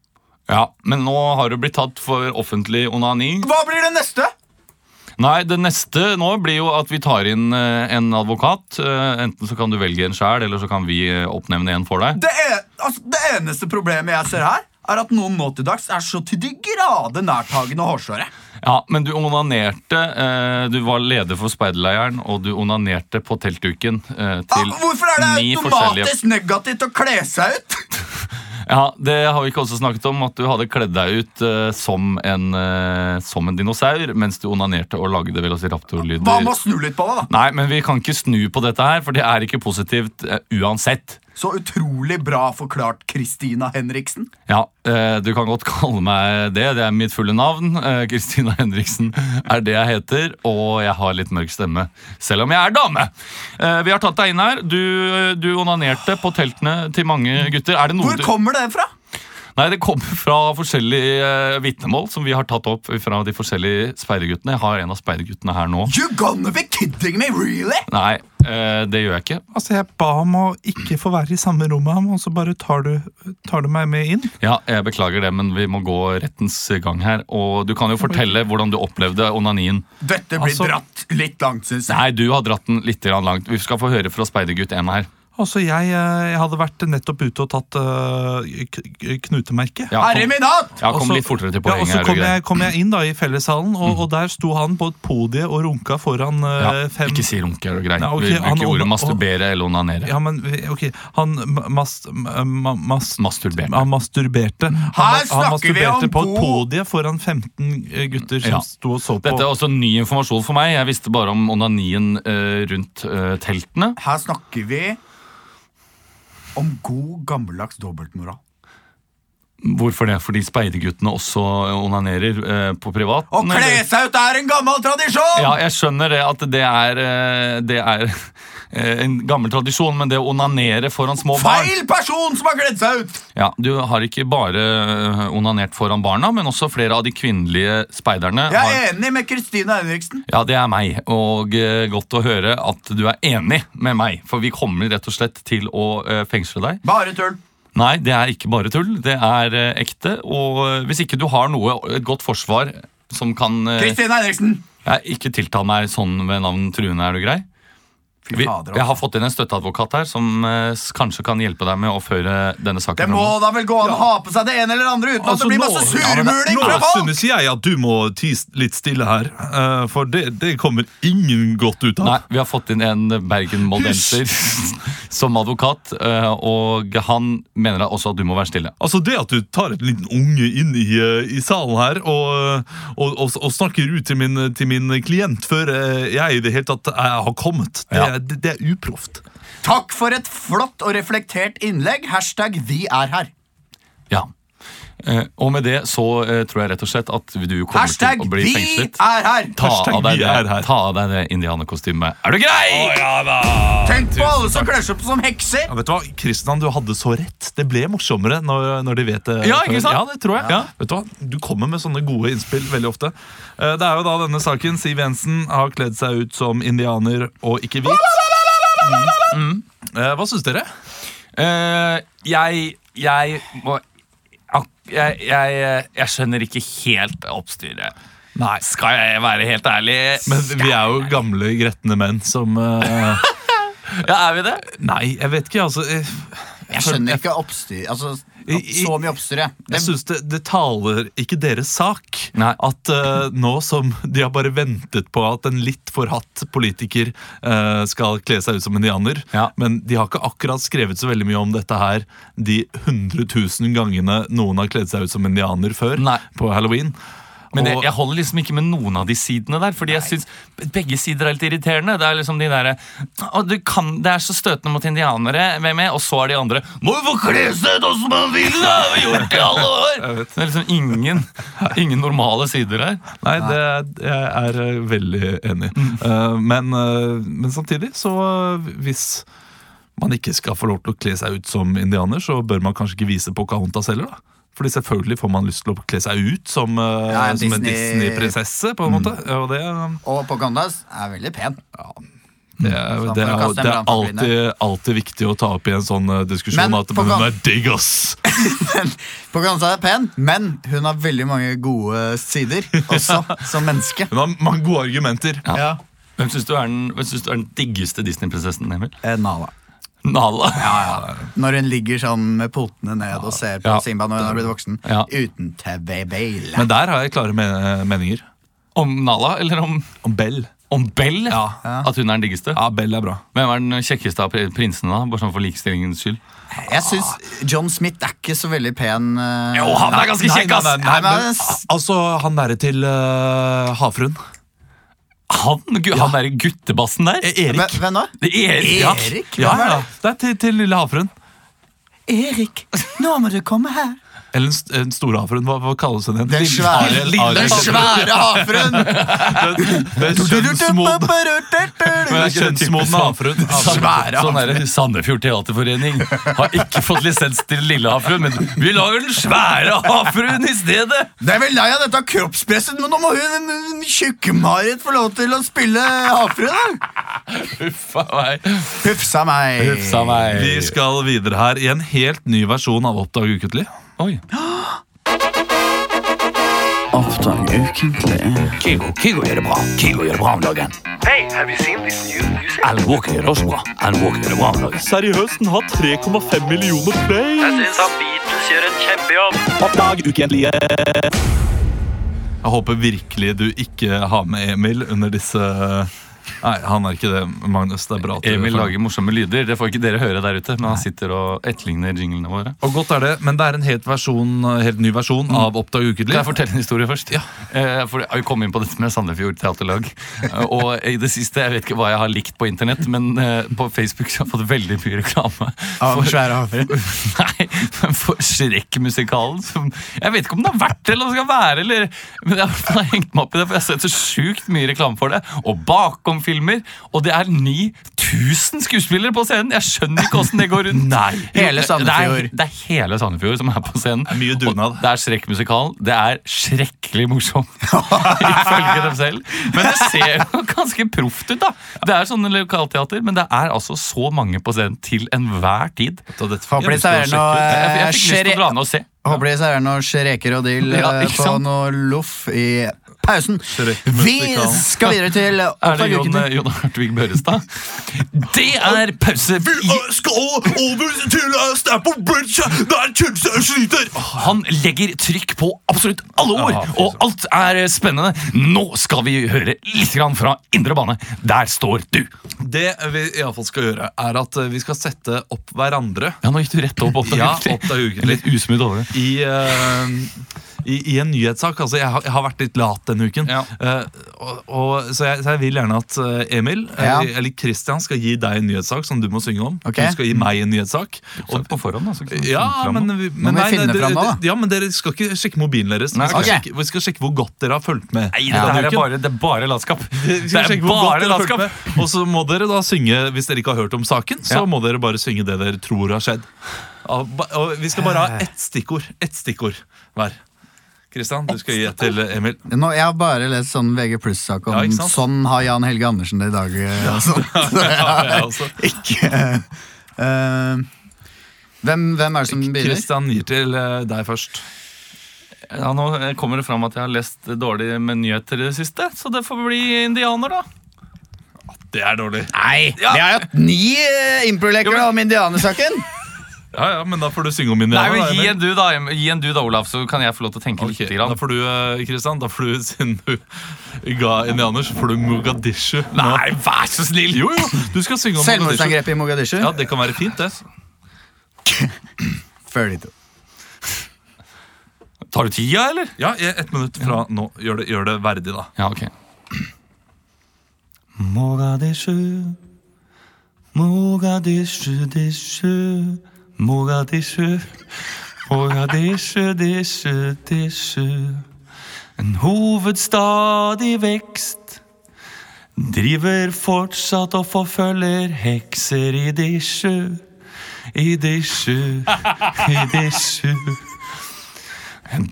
Ja, Men nå har du blitt tatt for offentlig onani. Hva blir det neste? Nei, det neste nå blir jo at vi tar inn eh, en advokat. Eh, Enten så kan du velge en sjæl, eller så kan vi eh, oppnevne en for deg. Det, e- altså, det eneste problemet jeg ser her, er at noen nå til dags er så til de grader nærtagende og hårsåre. Ja, Men du onanerte. eh, Du var leder for speiderleiren, og du onanerte på teltduken eh, Ah, til hvorfor er det ni forskjellige automatisk negativt å kle seg ut? Ja, Det har vi ikke også snakket om, at du hadde kledd deg ut eh, som en, eh, som en dinosaur mens du onanerte og lagde velociraptor-lyder. Hva med å snu litt på det, da? Nei, men vi kan ikke snu på dette her, for det er ikke positivt eh, uansett. Så utrolig bra forklart, Kristina Henriksen. Ja, eh, du kan godt kalle meg det. Det er mitt fulle navn. Eh, Kristina Henriksen er det jeg heter, og jeg har litt mørk stemme, selv om jeg er dame. Eh, vi har tatt deg inn her. Du, du onanerte på teltene til mange gutter. Er det noe Hvor kommer det fra? du Nei, Det kommer fra forskjellige eh, vitnemål som vi har tatt opp fra de forskjellige speiderguttene. Jeg har en av speiderguttene her nå. You gonna be kidding me, really? Nei, eh, det gjør jeg ikke. Altså, Jeg ba om å ikke få være i samme rom med ham, og så bare tar du, tar du meg med inn. Ja, jeg beklager det, men vi må gå rettens gang her. Og du kan jo fortelle hvordan du opplevde onanien. Dette blir Altså- dratt litt langt, syns jeg. Nei, du har dratt den litt grann langt. Vi skal få høre fra speidergutt 1 her. Altså, jeg, eh, jeg hadde vært nettopp ute og tatt eh, k- k- knutemerket. Ja, Herre kom, min hatt! ja, kom Og så- litt fortere Ja, til og poenget. så er du kom grei? jeg, kom jeg inn da i fellessalen, og, og der sto han på et podie og runka foran eh, ja, fem ikke si runke, er du grei. Nei, ok, Vi bruker han- ordet han- masturbere eller onanere. Ja, men ok, han mas, ma, mas, Masturbere. Han masturberte. Han, han Her snakker vi om masturberte på et god- podie foran 15 gutter som Ja. sto og så på. Dette er også ny informasjon for meg. Jeg visste bare om onanien eh, rundt eh, teltene. Her snakker vi om god, gammeldags dobbeltmoral. Hvorfor det? Fordi speiderguttene også onanerer eh, på privat. Å kle seg ut er en gammel tradisjon! Ja, jeg skjønner det at det er, eh, det er eh, en gammel tradisjon, men det å onanere foran små barn Feil person som har kledd seg ut! Ja, Du har ikke bare øh, onanert foran barna, men også flere av de kvinnelige speiderne. Jeg har... er enig med Kristina Henriksen. Ja, det er meg, og øh, godt å høre at du er enig med meg. For vi kommer rett og slett til å øh, fengsle deg. Bare tull. Nei, det er ikke bare tull. Det er øh, ekte. Og øh, hvis ikke du har noe, et godt forsvar som kan øh, Kristina Henriksen. jeg Ikke tiltal meg sånn ved navn Truende, er du grei? Fy Vi, fader, jeg har altså. fått inn en støtteadvokat her som øh, s- kanskje kan hjelpe deg med å føre denne saken Det må fremover. da vel gå an å ha på seg det ene eller det andre uten at det blir masse Altså, nå- ja, men det- surmuling fra Nå folk! synes jeg at du må tie s- litt stille her, eh, for det, det kommer ingen godt ut av. Nei, vi har fått inn en bergenmoldenser som advokat, eh, og han mener da også at du må være stille. Altså Det at du tar et liten unge inn i, eh, i salen her og, eh, og, og, og snakker ut til min, til min klient før eh, jeg i det hele tatt eh, har kommet, det, Ja. er- det, det er uproft. Takk for et flott og reflektert innlegg. Hashtag vi er her. Ja. Eh, Og med det så eh, tror jeg rett og slett at du kommer Hashtag til å bli vi fengslet. er her! Ta Hashtag av, deg vi det, er her. ta av deg det indianerkostymet. Er du grei?! Tenk på alle som kler seg opp som hekser! Ja, vet du hva, Kristian, du hadde så rett. Det ble morsommere når, når de vet det. Ja, ikke sant? Ja, det tror jeg. Ja. Vet Du hva, du kommer med sånne gode innspill veldig ofte. Eh, Det er jo da denne saken. Siv Jensen har kledd seg ut som indianer og ikke hvit. Mm. Mm. Eh, Hva syns dere? Eh, jeg jeg må ak- jeg, jeg, jeg skjønner ikke helt oppstyret. Nei. Skal jeg være helt ærlig? Men vi er jo gamle, gretne menn som eh, Ja, er vi det? Nei, jeg vet ikke. altså Jeg, Jeg skjønner ikke oppstyr altså, opp, Så mye oppstyr, jeg. jeg syns det, det taler ikke deres sak Nei. at eh, nå som de har bare ventet på at en litt forhatt politiker eh, skal kle seg ut som indianer, Ja. men de har ikke akkurat skrevet så veldig mye om dette her de 100 000 gangene noen har kledd seg ut som indianer før Nei. på halloween. Men det, Og- jeg holder liksom ikke med noen av de sidene der, fordi jeg syns begge sider er litt irriterende. Det er liksom de derre «Å, du kan- Det er så støtende mot indianere, hvem er, og så er de andre Må jo få kle seg sånn som man vil, da! Vi har gjort det i alle år! vet. Det er liksom ingen, ingen normale sider her. Nei, det, jeg er eh, veldig enig. Eh, men, eh, men samtidig, så eh, hvis man ikke skal få lov til å kle seg ut som indianer, så bør man kanskje ikke vise Pocahontas heller, da. Fordi selvfølgelig får man lyst til å kle seg ut som, eh, Ja, en som en Disney- Disney-prinsesse, på en måte. Og det, eh, Og Pocahontas er veldig pen. det, er- Så da får det, du er, kaste en det er brann for alltid, alltid viktig å ta opp i en sånn eh, diskusjon Men at hun Pocah- er digg, ass! Pocahontas er pen, men hun har veldig mange gode sider også, som menneske. Hun har mange gode argumenter. Ja. Hvem syns du er den, hvem synes du er den diggeste Disney-prinsessen, Emil? Eh, Nala. Nala. Når hun ligger sånn med potene ned og ser på Ja. Simba når hun har blitt voksen. Ja. Uten TV-bail. Men der har jeg klare me- meninger. Om Nala, eller om, Om Bell. om Bell? Ja. At hun er den diggeste? Ja, Bell er bra. Hvem er den kjekkeste av pri- prinsene, da? Bare sånn for likestillingens skyld. Jeg syns John Smith er ikke så veldig pen. eh, Jo, han er ganske Nei, kjekk, nei, ass! nei, nei, Nei, men- men, altså, han derre til eh, havfruen. Han, gu- han derre guttebassen der? Hva- Hvem da? Det er Erik, ja. Erik? Ja, Hvem er ja. Det er til, til lille havfruen. Erik, nå må du komme her. Eller den st- den store havfruen. Hva, hva kalles den igjen? Den svære, Ariel, Ariel. den svære havfruen! Den kjønnsmodne den kjønnsmodne havfruen. Sånn, Svære sånn der, Sandefjord Teaterforening har ikke fått lisens til Lille Havfruen, men vi lager den svære havfruen i stedet! Det er vel lei av dette kroppspresset, men nå må hun hun tjukke-Marit få lov til å spille havfruen. da. Uffa meg. Hufsa meg. Uffa meg. Vi skal videre her i en helt ny versjon av Oppdag ukentlig. Oi. Kygo, Kygo gjør det bra. Kygo gjør det bra om dagen. Alan Walker gjør det også bra. Alan Walker gjør det bra om dagen. Seriøst, den har 3,5 millioner play! Jeg håper virkelig du ikke har med Emil under disse Nei, han er ikke det, Magnus. Det er bra at du Emil får- lager morsomme lyder. Det får ikke dere høre der ute, men han sitter og etterligner jinglene våre. Og godt er det, men det er en helt, versjon, helt ny versjon av Oppdag ukentlig. Kan jeg fortelle en historie først? Ja. Eh, for jeg kom inn på dette med Sandefjord Teaterlag. Eh, og i det siste, jeg vet ikke hva jeg har likt på internett, men eh, på Facebook så har jeg fått veldig mye reklame. Av den svære havfruen. Nei, men for Shrek-musikalen som Jeg vet ikke om den har vært eller om den skal være, eller, men jeg har hengt meg opp i det, for jeg har sett så sjukt mye reklame for det. Og bakomfilmer. Og det er 9000 skuespillere på scenen! Jeg skjønner ikke åssen det går rundt. Nei, Hele Sandefjord. Det er, det er hele Sandefjord som er på scenen. er mye dunad. Og Det er Shrek-musikalen. Det er skrekkelig morsomt, ifølge dem selv. Men det ser jo ganske proft ut, da. Det er sånne lokalteater, men det er altså så mange på scenen til enhver tid. Så dette Håper de jeg lyst til å serverer noe, sjekke ut. Jeg, jeg fikk lyst til eh, å dra ned og se. Håper de serverer noe skjereker og dill Ja, eh, ikke på sant? noe loff i pausen. Vi musikalen. skal videre til Er det Oppdag Jon, eh, ukentlig. Jon Hartvig Børrestad? Det er pause! Jeg skal over til eh, Stamford Bridge, der Kjølse sliter! Han legger trykk på absolutt alle Ja, ord, fy og alt er spennende. Nå skal vi høre litt grann fra indre bane. Der står du. Det vi iallfall skal gjøre, er at eh, vi skal sette opp hverandre Ja, nå gikk du rett opp. opp Ja, oppdag ukentlig. Litt usmudd over det. i, eh, i, i en nyhetssak. Altså, jeg har, jeg har vært litt lat denne uken. Ja. Eh, og, og, så, jeg, så jeg vil gjerne at eh, Emil, Ja. eller, eller Christian, skal gi deg en nyhetssak som du må synge om. Ok. Du skal gi meg en nyhetssak. Og, på forhånd, altså. ikke sant? Ja, Fram nå. men, vi, men, vi finne dere- fram nå, da. dere- Ja, men dere skal ikke sjekke mobilen deres. Nei, vi, skal ok. sjekke, vi skal sjekke hvor godt dere har fulgt med. Nei, denne det, her er uken. bare, det er bare latskap. Vi Det skal er sjekke hvor godt bare dere har fulgt latskap. med. Og så må dere da synge, hvis dere ikke har hørt om saken, så Ja. må dere bare synge det dere tror har skjedd. Og, ba- og vi skal bare Eh. ha ett stikkord. Ett stikkord hver. Kristian, du skal gi et til Emil. Nå, jeg har bare lest sånn VG Pluss-sak om Ja, ikke sant? sånn har Jan Helge Andersen det i dag. eh, og sånt. Ja, jeg også. Ikke eh, hvem, hvem er det som begynner? Kristian gir til eh, deg først. Ja, nå eh, kommer det fram at jeg har lest dårlig med nyheter i det siste, så det får bli indianer, da. Det er dårlig. Nei, vi har hatt ni eh, improleker da, om indianersaken! Ja, ja, men da får du synge om Nei, indianer. men Gi Emil. en du, da, Em- gi en du da, Olav, så kan jeg få lov til å tenke Ok, litt. da Grann. får du, eh, Kristian, da får du, siden du ga indianer, så får du Mogadishu. nå. Nei, vær så snill! Jo, jo, du skal synge om Mogadishu. Selvmordsangrepet i Mogadishu. Ja, det kan være fint, det. 32. Tar du tida, eller? Ja, jeg- ett minutt fra nå. Gjør det, gjør det verdig, da. Ja, ok. Mogadishu, Mogadishu, dishu, Mogadishu, Mogadishu, dishu, dishu. En hovedstad i vekst. Driver fortsatt og forfølger hekser i dishu, i dishu, i dishu.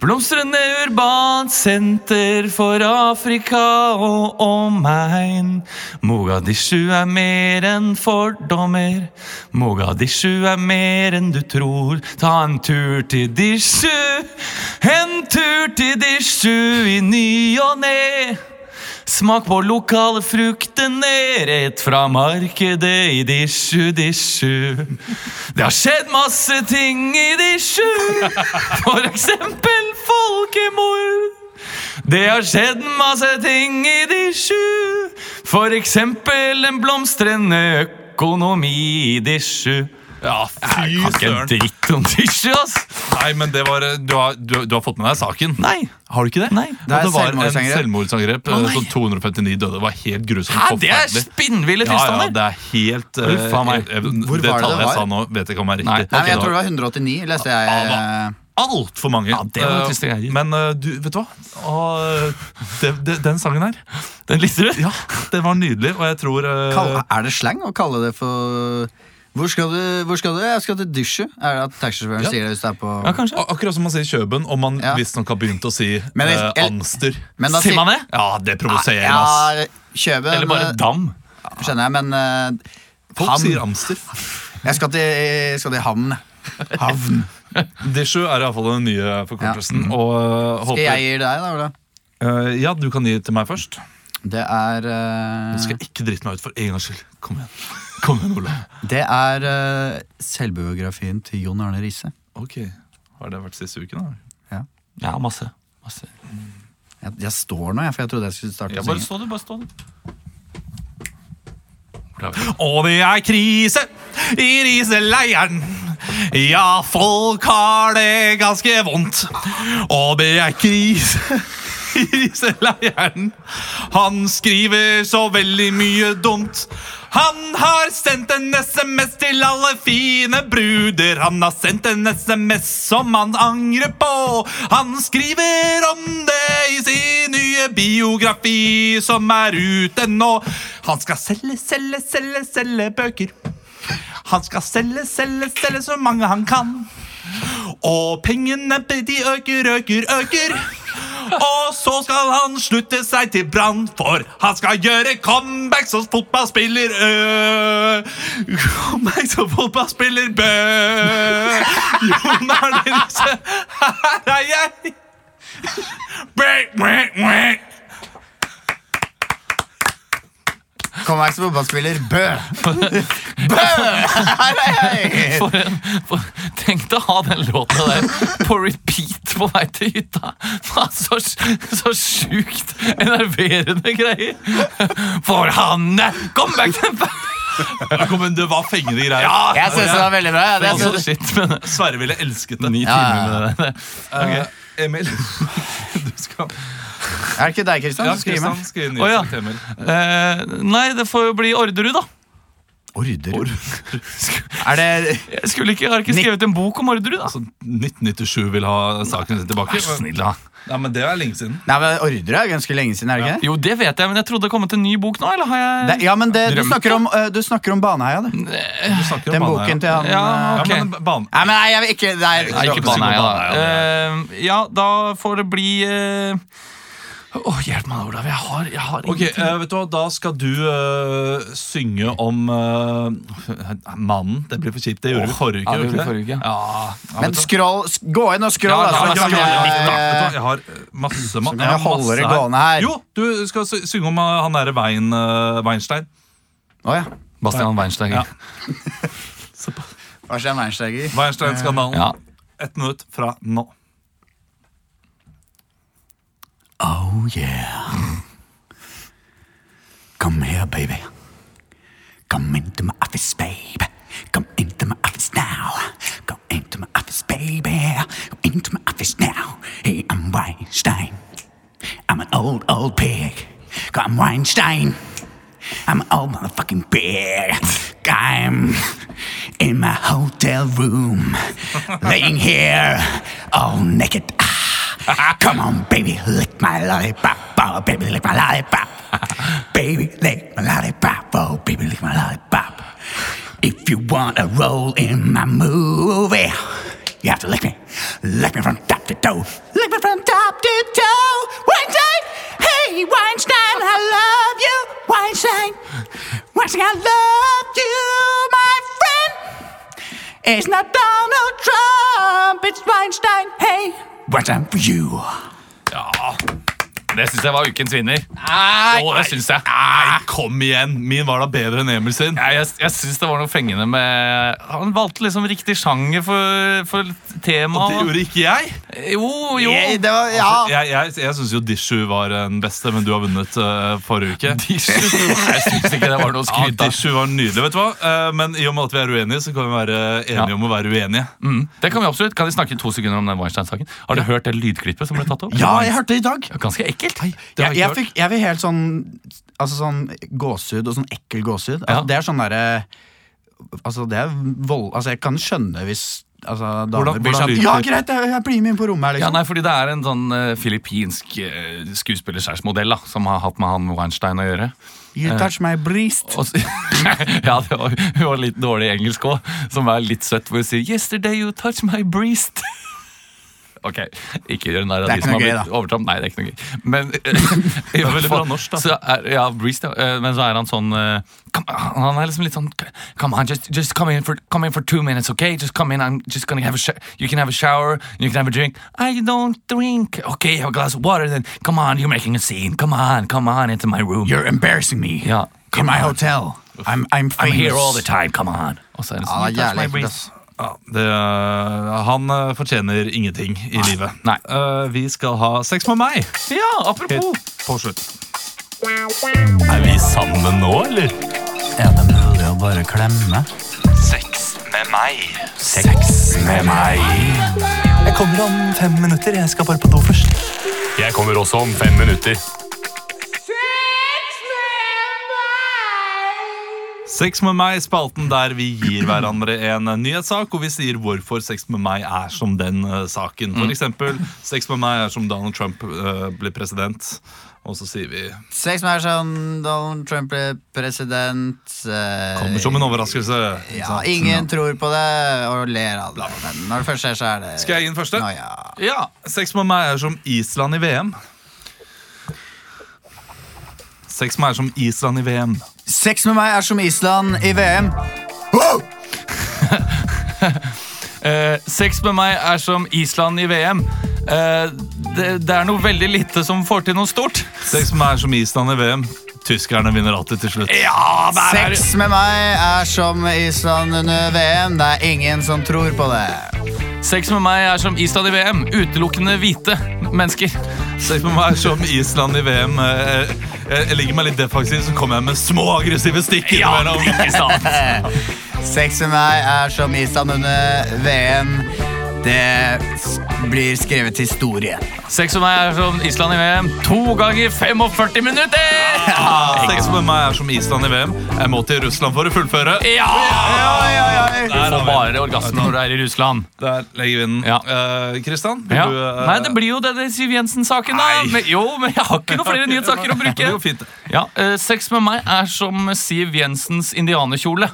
Blomstrende urbant senter for Afrika og omegn. Mogadishu er mer enn fordommer. Mogadishu er mer enn du tror. Ta en tur til Dishu, en tur til Dishu i ny og ne. Smak på lokale fruktene rett fra markedet i Dishu, Dishu. Det har skjedd masse ting i Dishu, for eksempel folkemord. Det har skjedd masse ting i Dishu, for eksempel en blomstrende økonomi i Dishu. Ja, Jeg fy kan ikke en søren. dritt om Dishu, ass! Nei, men det var, eh, du, har, du, du har fått med deg saken? Nei. Har du ikke det? Nei. Det, Det er var en selvmordsangrep. selvmordsangrep. eh, Å, nei. som 259 døde. Det var helt grusomt. Hæ, det er forferdelig. spinnville ja, ja, tilstander! det er helt eh, Uff, faen meg. eh, Hvor Det var det tallet det jeg var? sa nå, vet jeg ikke om er riktig. Nei, Nei, men Jeg Ok, tror det da. var 189, leste jeg. eh, Ja, Altfor mange. Ja, det var Eh, triste greier. Men eh, du, vet du hva? Å, eh, det, det, den sangen her, Den lister du? ja, den var nydelig, og jeg tror eh, Kall- Er det slang å kalle det for Hvor skal du? Hvor skal du? Jeg skal til dusje. Er det at taxisjåføren Ja. sier det hvis det er på Ja, kanskje. ak- Akkurat som man sier Kjøben, og man Ja. visstnok har begynt å si Men jeg- eh, jeg- angster. Men da Sier sier- man det? Ja, det provoserer meg, ass. Ja, Kjøben Eller bare eh, dam? Skjønner jeg, men eh, Folk ham. sier amster. Jeg skal til, jeg skal til havn. Havn. Dishu er iallfall den nye forkortelsen. Og eh, Skal håper jeg gi deg, da, Ola? Eh, Ja, du kan gi til meg først. Det er eh, Nå skal jeg ikke drite meg ut for en gangs skyld. Kom igjen, Kom igjen, Ole. Det er eh, selvbiografien til Jon Arne Riise. Ok, Har det vært siste uken, da? Ja, masse. masse. Jeg, jeg står nå, jeg, for jeg trodde jeg skulle starte Ja, å bare synge. stå du, bare stå du. Og det er krise i riseleiren. Ja, folk har det ganske vondt. Og det er krise i riseleiren. Han skriver så veldig mye dumt. Han har sendt en SMS til alle fine bruder. Han har sendt en SMS som han angrer på. Han skriver om det i sin nye biografi som er ute nå. Han skal selge, selge, selge, selge bøker. Han skal selge, selge, selge så mange han kan. Og pengene de øker, øker, øker. Og så skal han slutte seg til Brann, for han skal gjøre comeback som fotballspiller Ø. Comeback som fotballspiller Bø. Jon Arne Riise, her er jeg! Bæ, bæ, bæ. Kom her som fotballspiller. Bø! Bø! Her er jeg! For en, for, tenk deg å ha den låta der på repeat på vei til hytta. Faen, så, så sjukt enerverende greier. For han eh, Kom back til Ja, kom, men Det var fengende greier. Jeg syns det var veldig bra. jeg. Det Altså, synes- shit, men Sverre ville elsket det. Ni Ja, ja, timer med det. Eh, Emil, du skal Er det ikke deg, Kristian? Ja, som skriver Kristian med? skriver Å, ja. nytt til Emil. Eh, nei, det får jo bli Orderud, da. Orderud. Er det Jeg skulle ikke, jeg har ikke skrevet en bok om Orderud, da. Altså, 1997 vil ha saken sin tilbake. Vær så snill, da. Nei, men Det er lenge siden. Nei, men Orderud er ganske lenge siden, er det ikke det? Jo, det vet jeg, men jeg trodde det kom ut en ny bok nå, eller har jeg det? Ja, men det, du, Drømte. snakker om, eh, du snakker om Baneheia, du. Du snakker Den om boken til han Ja, eh, Ja, Ok. men banen Nei, men nei, jeg vil ikke Nei, jeg vil Nei, ikke snakke om Baneheia, Baneheia, da. Eh, ja, da får det bli eh, Å, hjelp meg, Olav. Jeg har, jeg har Ok, ingenting. eh, vet du hva, Da skal du eh, synge om eh, mannen. Det blir for kjipt. Det gjorde vi forrige uke. ja, det gjorde vi gjorde vi ikke forrige uke. Ja, ja, Men vet du hva? scroll, sk- gå inn og scroll, Ja, ja, da, så ja, ja, kan ja, jeg- litt, da. Vet du hva, jeg har eh, masse mann. kan jeg holde det gående her. Jo, du skal sy- synge om eh, han derre Wein, eh, Weinstein. Å ja. Bastian Weinsteiger. Ja. Ja. Hva skjer, Weinsteiger? Weinstein-skandalen. Ja. Ett minutt fra nå. Oh yeah. Come here, baby. Come into my office, baby. Come into my office now. Come into my office, baby. Come into my office now. Hey, old pig. I'm Weinstein. I'm an old motherfucking pig. I'm in my hotel room, laying here all naked. Ah, Come on, baby, lick my lollipop. Oh, baby, lick my lollipop. Baby, lick my lollipop. Oh, baby, lick my lollipop. If you want to roll in my movie, you have to lick me. Lick me from top to toe. Lick me from top to toe. Weinstein, hey, Weinstein, I love you. Weinstein, Weinstein, I love you, my friend. It's not Donald Trump, it's Weinstein, hey. Weinstein for you. Ja. Det syns jeg var ukens vinner. Jo, det syns jeg. Nei, kom igjen! Min var da bedre enn Emil sin. Ja, jeg jeg syns det var noe fengende med Han valgte liksom riktig sjanger for, for Og det temaet. gjorde ikke jeg. Jo, jo. Eh, Det var, ja. Altså, jeg jeg, jeg syns jo Dishu var den beste, men du har vunnet eh, forrige uke. Jeg syns ikke det var noe å Ja, skryte av. Dishu var nydelig, vet du hva. Eh, men i og med at vi er uenige, så kan vi være enige Ja. om å være uenige. Mm. Det Kan vi absolutt. Kan vi snakke to sekunder om den Weinstein-saken? Har du hørt det lydklippet som ble tatt opp? Altså, Ja, jeg hørte det i dag. Ganske ekkelt. Det har Jeg, jeg jeg, ikke hørt. fikk, jeg fikk helt sånn Altså sånn gåsehud og sånn ekkel gåsehud. Altså, Ja. Det er sånn derre Altså, det er vold... Altså, jeg kan skjønne hvis altså, damer Hvordan- blir hvordan sånn lyder Ja, det? greit, jeg, jeg blir med inn på rommet her, Ja, liksom. nei, fordi Det er en sånn eh, filippinsk uh, skuespillerskjærsmodell da, som har hatt med han Weinstein å gjøre. you touch my breast. Og så, ja, det var, hun var litt dårlig i engelsk òg, som er litt søtt, hvor hun sier 'Yesterday you touch my breast'. Ok, ikke gjør narr av Det er de som ikke har noe blitt gøy, overtramp. Nei, det er ikke noe gøy. Men, det er veldig bra norsk, da. Så er, ja, breast, ja. Eh, Men så er han sånn eh, come, on, Han er liksom litt sånn Come on, just, just come, in for, come in for two minutes, ok? Just come in, I'm just gonna have a shower. You can have a shower, you can have a drink. I don't drink. Ok, have a glass of water then. Come on, you're making a scene. Come on, come on into my room. You're embarrassing me. Ja. In my hotel. I'm, I'm I'm famous. here all the time, come on. Og så er det sånn, «Touch my Ja, det er Ah, jævlig ekkelt, breast». ass. Ja, det, han eh, fortjener ingenting i livet. Nei. Eh, vi skal ha sex med meg. Ja, apropos Helt på slutt. Er vi sammen nå, eller? Er det mulig å bare klemme? Sex med meg. Sex med meg. Jeg kommer om fem minutter. Jeg skal bare på do først. Jeg kommer også om fem minutter. Sex med meg, spalten der vi gir hverandre en eh, nyhetssak, og vi sier hvorfor sex med meg er som den eh, saken. Mm. For eksempel, sex med meg er som Donald Trump eh, blir president. Og så sier vi Sex med sånn Donald Trump ble president. eh, Kommer som en overraskelse. Ja, ingen tror på det og ler av det. Men når det først skjer, så er det Skal jeg gi den første? Nå, ja. Ja, Sex med meg er som Island i VM. Sex med meg er som Island i VM. Sex med meg er som Island i VM. eh, Sex med meg er som Island i VM. Eh, det, det er noe veldig lite som får til noe stort. Sex med meg er som Island i VM. Tyskerne vinner alltid til slutt. Ja, der er Sex med meg er som Island under VM. Det er ingen som tror på det. Sex med meg er som Island i VM. Utelukkende hvite mennesker. Sex med meg er som Island i VM. Eh, Jeg, jeg ligger meg litt defensiv, så kommer jeg med små aggressive stikk innimellom. Sex med meg er som Island under VM. Det s- blir skrevet historie. Sex med meg er som Island i VM. To ganger 45 minutter! Ah, Sex med meg er som Island i VM. Jeg må til Russland for å fullføre. Ja! Du Der, har får vi den. bare orgasme når du er i Russland. Der legger vi den. Ja. Eh, Kristian, vil Ja. du eh, Nei, det blir jo denne Siv Jensen-saken, da. Nei. Men, jo, men jeg har ikke noen flere nyhetssaker å Det bruke. går fint. Ja, eh, Sex med meg er som Siv Jensens indianerkjole.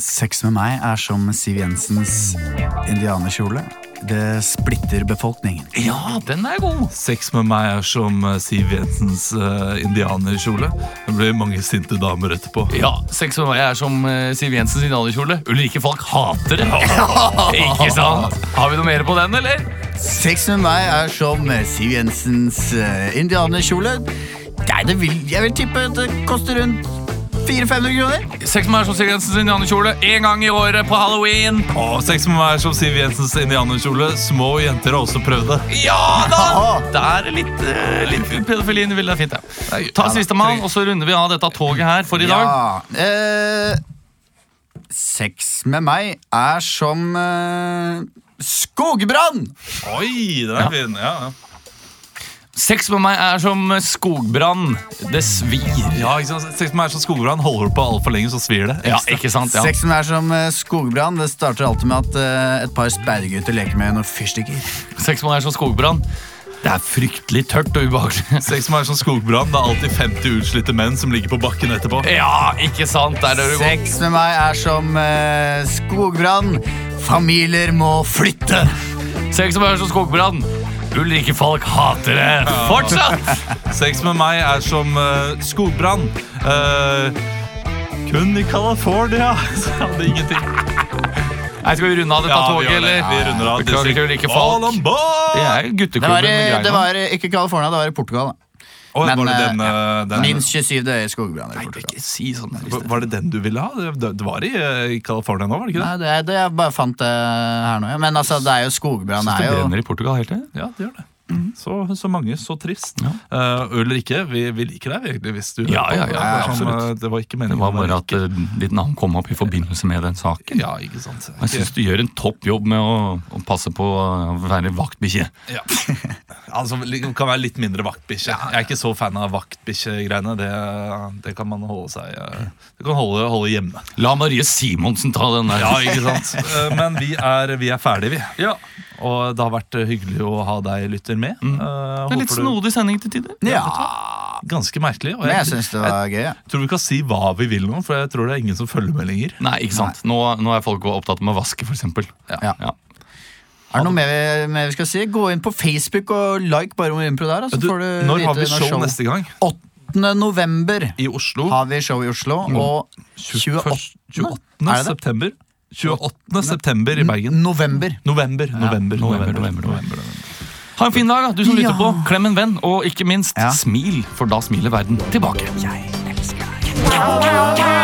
Sex med meg er som Siv Jensens indianerkjole. Det splitter befolkningen. Ja, den er god. Sex med meg er som eh, Siv Jensens eh, indianerkjole. Det blir mange sinte damer etterpå. Ja, Sex med meg er som eh, Siv Jensens indianerkjole. Ulrikke Falk hater det. Ikke sant? Har vi noe mer på den, eller? Sex med meg er som Siv Jensens eh, indianerkjole. Nei, det vil, jeg vil tippe at det koster rundt 400-500 kroner. Sex med meg er som Siv Jensens indianerkjole én gang i året på halloween. Og sex med meg er som Siv Jensens indianerkjole. Små jenter har også prøvd det. Ja da! Der er litt, uh, litt pedofili inni bildet. er Fint, ja. Ta sistemann, og så runder vi av dette toget her for i dag. Eh, sex med meg er som eh, skogbrann. Oi, den er fin. Ja, ja. Sex med meg er som skogbrann. Det svir. Ja, ikke sant? Sex med meg som skogbrann holder du på altfor lenge, så svir det. Ja, ikke sant? Ja. Sexen er som eh, skogbrann. Det starter alltid med at eh, et par sperregutter leker med noen fyrstikker. Sex med meg er som skogbrann. Det er fryktelig tørt og ubehagelig. Sex med meg som skogbrann. Det er alltid 50 utslitte menn som ligger på bakken etterpå. Ja, ikke sant? Der er det godt. Sex med meg er som eh, skogbrann. Familier må flytte. Sex med meg er som skogbrann. Ulrikke Falk hater det fortsatt! Sex med meg er som eh, skogbrann. Eh, kun i California. Så hadde ingenting. Nei, skal vi runde av dette toget, gjør det. eller? Vi runder av. Beklager til Ulrikke All on Falk. board! Det er jo Det var, gutteklubben. i- med det greiene. var i- ikke i California, det var i Portugal. da. Å, Men, var det eh, den, eh, den? Minst 27 døde skogbranner i Portugal. Ikke si sånn. der i Var- sted. Var det den du ville ha? Det- Det, det var i, eh, i California nå, var det ikke det? Nei, det, er- det jeg bare fant det her nå. ja. Men altså, det er jo skogbrann. Det Det er jo brenner i Portugal hele tiden. Ja, det gjør det. Mhm. Så, så mange, så trist. Eh, øl eller ikke, vi, vi liker deg egentlig hvis du Ja, hører på. ja, ja, ja, Det er som, absolutt. eh, Det var ikke Det meningen. var å være bare at ikke- eh, ditt navn kom opp i forbindelse med den saken. Ja, ikke sant. Jeg syns du gjør en topp jobb med å, å passe på å være vaktbikkje. Ja. altså, det kan være litt mindre vaktbikkje. Jeg er ikke så fan av vaktbikkjegreiene. Det, det kan man holde seg eh, Det kan holde, holde hjemme. La Marie Simonsen ta den der. Ja, ikke sant? Eh, Men vi er, vi er ferdige, vi. Og det har vært eh, hyggelig å ha deg, lytter, med. Eh, Det er litt håper du- snodig sending til tider. Ja, Ganske merkelig. Og men jeg jeg, syns det var gøy. Ja. tror vi kan si hva vi vil nå, for jeg tror det er ingen som følger med lenger. Nei, ikke sant. Nå, nå er folk opptatt med å vaske, for eksempel. Ja. Er det noe mer vi, mer vi skal si? Gå inn på Facebook og like bare om impro der. da, Så Du, får du når har vi vite show, neste gang? 8. november I Oslo. har vi show i Oslo, og 28. Først- 28. Er det det? september. 28. september i Bergen. november. November, november, november, november, november. Ha en fin dag, da, du som Ja. lytter på. Klem en venn, og ikke minst, Ja. smil, for da smiler verden tilbake. Wow, wow, wow.